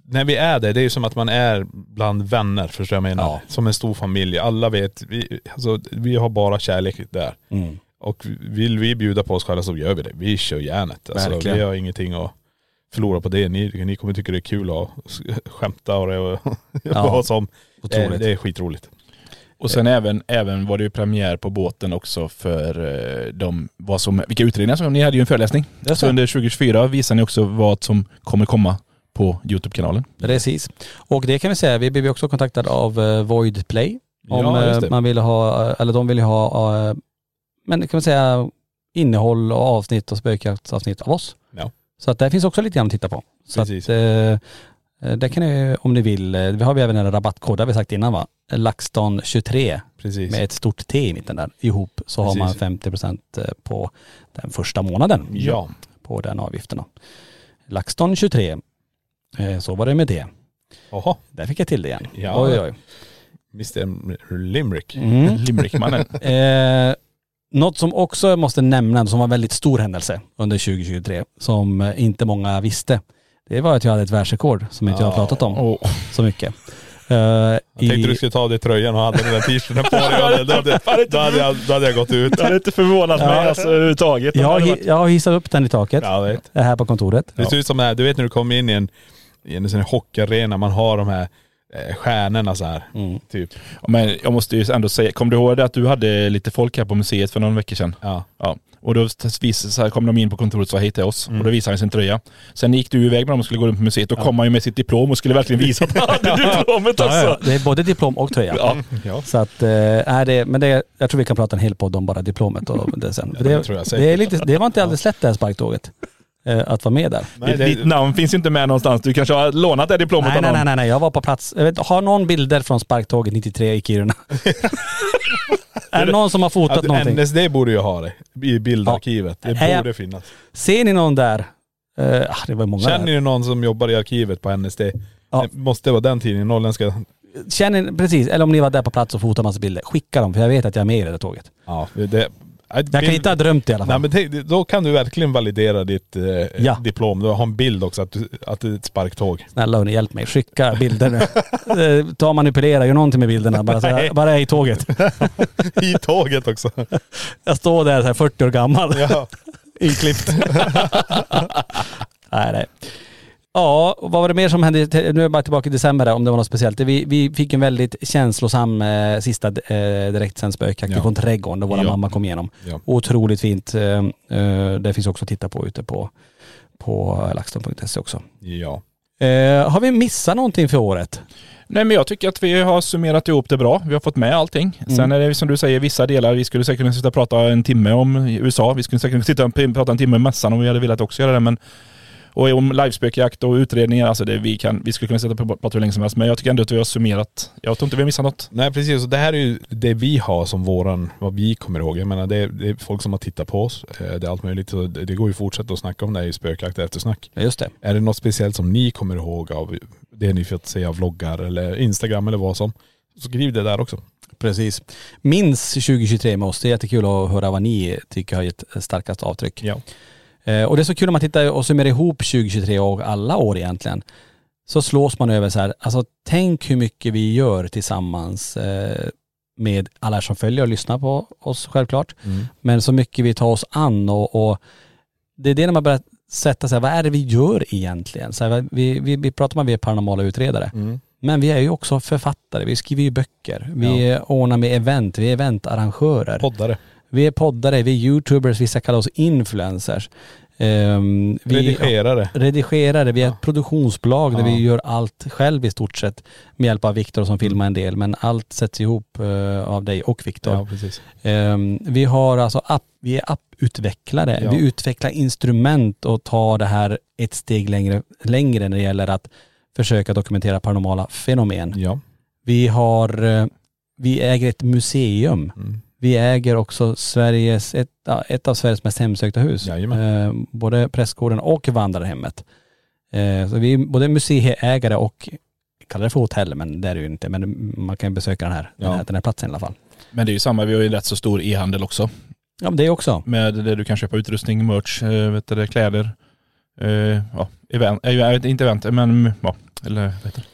[SPEAKER 4] när vi är där, det är ju som att man är bland vänner, förstår jag vad jag menar?
[SPEAKER 2] Ja.
[SPEAKER 4] Som en stor familj. Alla vet, vi, alltså, vi har bara kärlek där.
[SPEAKER 2] Mm.
[SPEAKER 4] Och vill vi bjuda på oss själva så gör vi det. Vi kör järnet. Alltså,
[SPEAKER 2] Verkligen.
[SPEAKER 4] vi har ingenting att förlora på det. Ni, ni kommer tycka det är kul att s- skämta och det och
[SPEAKER 2] Ja.
[SPEAKER 4] vad som. Eh,
[SPEAKER 2] Otroligt.
[SPEAKER 4] Det är skitroligt.
[SPEAKER 3] Och
[SPEAKER 2] Eh.
[SPEAKER 3] sen även, även var det ju premiär på båten också för eh, de, vad som, vilka utredningar som, ni hade ju en föreläsning. Så under 2024 visar ni också vad som kommer komma på Youtube-kanalen.
[SPEAKER 2] Precis. Och det kan vi säga, vi blev ju också kontaktade av eh, Void Play. Om
[SPEAKER 4] Ja, just
[SPEAKER 2] eh,
[SPEAKER 4] det.
[SPEAKER 2] man ville ha, eller de ville ha, eh, men kan man säga innehåll och avsnitt och spökjaktsavsnitt av oss.
[SPEAKER 4] Ja.
[SPEAKER 2] Så att där finns också lite grann att titta på. Så att,
[SPEAKER 4] Precis.
[SPEAKER 2] eh, det kan ni, om ni vill, eh, vi har vi även en rabattkod, det har vi sagt innan va? LaxTon23
[SPEAKER 4] Precis.
[SPEAKER 2] med ett stort T i mitten där. Ihop så har
[SPEAKER 4] Precis.
[SPEAKER 2] man 50% på den första månaden
[SPEAKER 4] Ja.
[SPEAKER 2] på den avgiften. då. LaxTon23, eh, så var det med det.
[SPEAKER 4] Jaha,
[SPEAKER 2] Där fick jag till det igen.
[SPEAKER 4] Ja.
[SPEAKER 2] Oj, oj.
[SPEAKER 4] Mr Limerick.
[SPEAKER 2] Mm.
[SPEAKER 3] Limerickmannen.
[SPEAKER 2] Eh, något som också måste nämna, som var en väldigt stor händelse under 2023, som eh, inte många visste, det var att jag hade ett världsrekord som inte jag har pratat om
[SPEAKER 3] Åh.
[SPEAKER 2] så mycket. Eh,
[SPEAKER 4] Oh. Jag tänkte du skulle ta av dig tröjan och hade den där t-shirten på dig. Då hade, då, hade jag, då hade jag gått ut.
[SPEAKER 3] hade inte förvånat
[SPEAKER 2] mig, Ja.
[SPEAKER 3] alltså, överhuvudtaget.
[SPEAKER 2] jag, hi- jag hissade upp den i taket
[SPEAKER 4] Ja, vet.
[SPEAKER 2] här på kontoret.
[SPEAKER 4] Det ser ut som det här, du vet när du kommer in i en, i en sån här hockeyarena, man har de här eh, stjärnorna så här.
[SPEAKER 2] Mm.
[SPEAKER 4] Typ.
[SPEAKER 3] Men jag måste ju ändå säga, kom du ihåg det att du hade lite folk här på museet för någon vecka sedan?
[SPEAKER 4] Ja.
[SPEAKER 3] Ja. Och då visade, så här kom de in på kontoret och sa hej till oss.
[SPEAKER 2] Mm.
[SPEAKER 3] Och då visade han sin tröja. Sen gick du iväg med dem och skulle gå runt på museet. Då kom han ju med sitt diplom och skulle verkligen visa att han hade diplomet också.
[SPEAKER 2] Ja, ja. Det är både diplom och tröja.
[SPEAKER 4] Ja.
[SPEAKER 2] Så att, eh, är det, men det, jag tror vi kan prata en hel podd om bara diplomet och det sen.
[SPEAKER 4] det tror jag säkert.
[SPEAKER 2] det, är lite, det var inte alldeles lätt det här sparktåget, eh, att vara med där.
[SPEAKER 4] Nej,
[SPEAKER 3] Ditt- Ditt
[SPEAKER 4] det,
[SPEAKER 3] namn finns ju inte med någonstans. Du kanske har lånat det diplomet
[SPEAKER 2] Nej,
[SPEAKER 3] av
[SPEAKER 2] nej,
[SPEAKER 3] någon.
[SPEAKER 2] nej, nej, nej, jag var på plats. Jag vet, har någon bilder från sparktåget 93 i Kiruna? är det någon som har fotat
[SPEAKER 4] att
[SPEAKER 2] någonting?
[SPEAKER 4] NSD borde ju ha det i bildarkivet.
[SPEAKER 2] Ja.
[SPEAKER 4] Det
[SPEAKER 2] Nej,
[SPEAKER 4] borde
[SPEAKER 2] jag-
[SPEAKER 4] finnas.
[SPEAKER 2] Ser ni någon där? Eh, ah, det var många
[SPEAKER 4] Känner
[SPEAKER 2] där.
[SPEAKER 4] ni någon som jobbar i arkivet på NSD?
[SPEAKER 2] Ja.
[SPEAKER 4] Det måste vara den tidningen, norrländska.
[SPEAKER 2] Känner ni, precis, eller om ni var där på plats och fotade massa bilder, skicka dem för jag vet att jag är med i det där tåget.
[SPEAKER 4] Ja, det,
[SPEAKER 2] Jag kan inte ha drömt det i alla
[SPEAKER 4] Nej,
[SPEAKER 2] fall.
[SPEAKER 4] men tänk, då kan du verkligen validera ditt eh,
[SPEAKER 2] Ja.
[SPEAKER 4] diplom. Du har en bild också att, du, att det är ett sparktåg.
[SPEAKER 2] Snälla hörni, hjälp mig. Skicka bilder nu. Eh, Ta och manipulera, gör någonting med bilderna. Bara, så här, bara jag är i tåget.
[SPEAKER 4] I tåget också.
[SPEAKER 2] Jag står där så här 40 år gammal.
[SPEAKER 4] Ja.
[SPEAKER 2] Inklippt. nej, nej. Ja, och vad var det mer som hände? i- Nu är jag bara tillbaka i december där, om det var något speciellt. Vi, vi fick en väldigt känslosam eh, sista eh, direktsänd spökjakt
[SPEAKER 4] Ja.
[SPEAKER 2] från trädgården där våra
[SPEAKER 4] Ja.
[SPEAKER 2] mamma kom igenom.
[SPEAKER 4] Ja.
[SPEAKER 2] Otroligt fint. Eh, eh, det finns också att titta på ute på, på laxton.se E också.
[SPEAKER 4] ja.
[SPEAKER 2] Eh, har vi missat någonting för året?
[SPEAKER 3] Nej men jag tycker att vi har summerat ihop det bra. Vi har fått med allting. Sen är det som du säger vissa delar, vi skulle säkert kunna sitta och prata en timme om USA. Vi skulle säkert kunna sitta och prata en timme om mässan om vi hade velat också göra det. Men, och om livespökjakt och utredningar, alltså det, vi, kan, vi skulle kunna sitta och prata hur länge som helst. Men jag tycker ändå att vi har summerat. Jag tror inte vi har missat något.
[SPEAKER 4] Nej precis, och det här är ju det vi har som våran, vad vi kommer ihåg. Jag menar det är, det är folk som har tittat på oss, eh, det är allt möjligt. Så det, det går ju att fortsätta att snacka om det här i spökjakt och eftersnack.
[SPEAKER 2] Ja, just det.
[SPEAKER 4] Är det något speciellt som ni kommer ihåg av det ni fått se av vloggar eller Instagram eller vad som, så skriv det där också.
[SPEAKER 2] Precis. Minns 2023 med oss. Det är jättekul att höra vad ni tycker har gett starkast avtryck.
[SPEAKER 4] Ja.
[SPEAKER 2] Eh, och det är så kul om man tittar och summerar ihop 2023 och alla år egentligen. Så slås man över så här, alltså tänk hur mycket vi gör tillsammans eh, med alla som följer och lyssnar på oss självklart.
[SPEAKER 4] Mm.
[SPEAKER 2] Men så mycket vi tar oss an och, och det är det när man börjar sätta sig, vad är det vi gör egentligen? Så här, vi, vi, vi pratar om att vi är paranormala utredare. Men vi är ju också författare, vi skriver ju böcker, vi ordnar med event, vi är eventarrangörer.
[SPEAKER 4] Poddare.
[SPEAKER 2] Vi är poddare, vi är youtubers, vissa kallar oss influencers. Ehm, vi
[SPEAKER 4] Redigerare.
[SPEAKER 2] Redigerare, vi är ett produktionsbolag där vi gör allt själv i stort sett med hjälp av Viktor som filmar en del men allt sätts ihop eh, av dig och Viktor.
[SPEAKER 4] Ja, precis.
[SPEAKER 2] Ehm, vi har alltså app, vi är apputvecklare.
[SPEAKER 4] Ja.
[SPEAKER 2] Vi utvecklar instrument och tar det här ett steg längre, längre när det gäller att försöka dokumentera paranormala fenomen.
[SPEAKER 4] Ja.
[SPEAKER 2] Vi har, eh, vi äger ett museum.
[SPEAKER 4] Mm.
[SPEAKER 2] Vi äger också Sveriges, ett, ja, ett av Sveriges mest hemsökta hus.
[SPEAKER 4] Jajamän.
[SPEAKER 2] Eh, både prästgården och vandrarhemmet. Eh, så vi är både museiägare och, kallar det för hotell men det är det ju inte, men man kan ju besöka den här, den
[SPEAKER 3] Ja.
[SPEAKER 2] här, den här platsen i alla fall.
[SPEAKER 3] Men det är ju samma, vi har ju en rätt så stor e-handel också.
[SPEAKER 2] Ja men det är också.
[SPEAKER 3] Med det du kan köpa utrustning, merch, eh, vet du, det, kläder, eh, ja, event, eh, jag vet inte event, men mm, ja, eller vad heter det?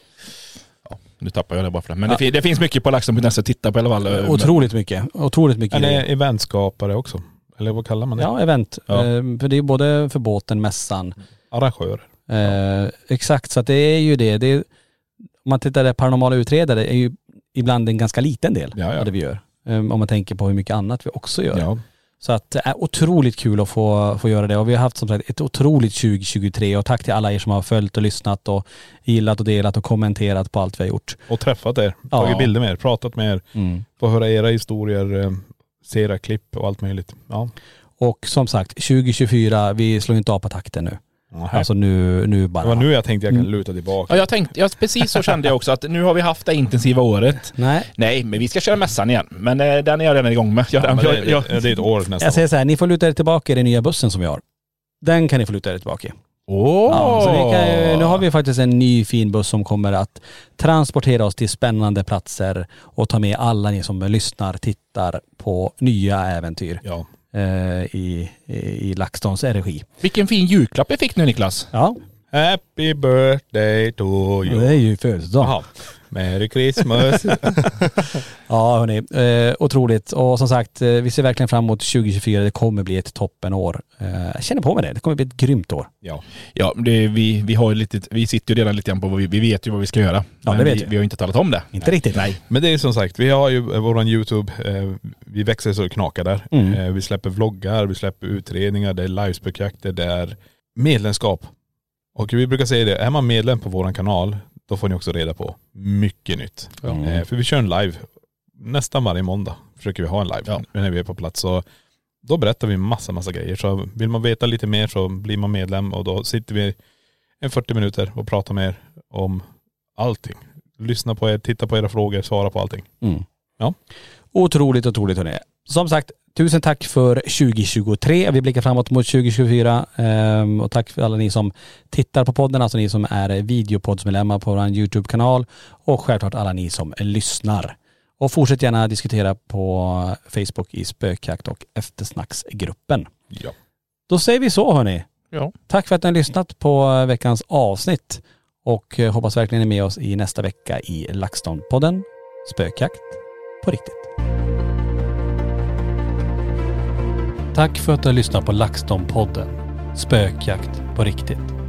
[SPEAKER 3] Ja, nu tappar jag det bara för det. Men det,
[SPEAKER 2] Ja.
[SPEAKER 3] fin- det finns mycket på laxen.se att titta på i alla fall. Eh,
[SPEAKER 2] Otroligt mycket. Otroligt mycket.
[SPEAKER 4] Han
[SPEAKER 2] grejer.
[SPEAKER 4] är eventskapare också. Eller vad kallar man det?
[SPEAKER 2] Ja, event.
[SPEAKER 3] Ja.
[SPEAKER 2] Eh, För det är både för båten, mässan.
[SPEAKER 4] Arrangör.
[SPEAKER 2] Eh, exakt, så att det är ju det. det är, om man tittar där, paranormala utredare är ju ibland en ganska liten del
[SPEAKER 4] Ja, ja.
[SPEAKER 2] av det vi gör. Eh, Om man tänker på hur mycket annat vi också gör.
[SPEAKER 4] Ja.
[SPEAKER 2] Så att det är otroligt kul att få, få göra det. Och vi har haft som sagt ett otroligt 2023 och tack till alla er som har följt och lyssnat och gillat och delat och kommenterat på allt vi har gjort.
[SPEAKER 4] Och träffat er,
[SPEAKER 2] Ja.
[SPEAKER 4] tagit bilder med er, pratat med er, få höra era historier, eh, se era klipp och allt möjligt. Ja.
[SPEAKER 2] Och som sagt, 2024, vi slår inte av på takten nu. Alltså nu, nu bara.
[SPEAKER 4] Det var nu jag tänkte jag kan luta tillbaka.
[SPEAKER 3] Ja, jag tänkte, ja, precis så kände jag också att nu har vi haft det intensiva året.
[SPEAKER 2] Nej.
[SPEAKER 3] Nej, men vi ska köra mässan igen. Men eh, den är jag redan igång med. Jag,
[SPEAKER 4] Men
[SPEAKER 3] jag,
[SPEAKER 4] det,
[SPEAKER 3] jag,
[SPEAKER 4] det, det är ett år nästan.
[SPEAKER 2] Jag säger så här, ni får luta er tillbaka i den nya bussen som vi har. Den kan ni få luta er tillbaka i.
[SPEAKER 3] Åh!
[SPEAKER 2] Ja, så vi kan, ju- nu har vi faktiskt en ny fin buss som kommer att transportera oss till spännande platser och ta med alla ni som lyssnar, tittar på nya äventyr
[SPEAKER 4] Ja.
[SPEAKER 2] eh, i, i, i LaxTons regi.
[SPEAKER 3] Vilken fin julklapp jag fick nu Niklas.
[SPEAKER 2] Ja,
[SPEAKER 4] Happy birthday to
[SPEAKER 2] det
[SPEAKER 4] you.
[SPEAKER 2] är ju födelsedag.
[SPEAKER 4] Jaha. Merry Christmas.
[SPEAKER 2] Ja hörni, eh, otroligt. Och som sagt, eh, vi ser verkligen fram emot 2024. Det kommer bli ett toppenår. Eh, jag känner på mig det. Det kommer bli ett grymt år.
[SPEAKER 4] ja.
[SPEAKER 3] Ja, det, vi, vi, har ju lite, vi sitter ju redan lite grann på vad vi, vi vet ju vad vi ska göra.
[SPEAKER 2] Ja,
[SPEAKER 3] Men
[SPEAKER 2] det vet
[SPEAKER 3] vi,
[SPEAKER 2] vi.
[SPEAKER 3] vi har ju inte talat om det.
[SPEAKER 2] Inte riktigt. Nej.
[SPEAKER 4] Men det är som sagt, vi har ju eh, våran YouTube, eh, vi växer så det knakar där.
[SPEAKER 2] Mm.
[SPEAKER 4] Eh, vi släpper vloggar, vi släpper utredningar, det är livespökjakter, det är medlemskap. Och vi brukar säga det, är man medlem på våran kanal, då får ni också reda på mycket nytt. Eh, för vi kör en live, nästan varje måndag försöker vi ha en live när vi är på plats. Så då berättar vi massa, massa grejer. Så vill man veta lite mer så blir man medlem och då sitter vi en 40 minuter och pratar med er om allting. Lyssna på er, titta på era frågor, svara på allting.
[SPEAKER 2] Otroligt, otroligt hörni. Som sagt, tusen tack för 2023. Vi blickar framåt mot 2024. ehm, Och tack för alla ni som tittar på podden, alltså ni som är videopoddsmedlemmar på vår YouTube-kanal. Och självklart alla ni som lyssnar. Och fortsätt gärna diskutera på Facebook i spökjakt och eftersnacksgruppen.
[SPEAKER 4] Ja.
[SPEAKER 2] Då säger vi så hörni.
[SPEAKER 3] Ja.
[SPEAKER 2] Tack för att ni har lyssnat på eh, veckans avsnitt. Och eh, hoppas verkligen ni är med oss i nästa vecka i LaxTon-podden Spökjakt på riktigt. Tack för att du har lyssnat på LaxTon-podden Spökjakt på riktigt.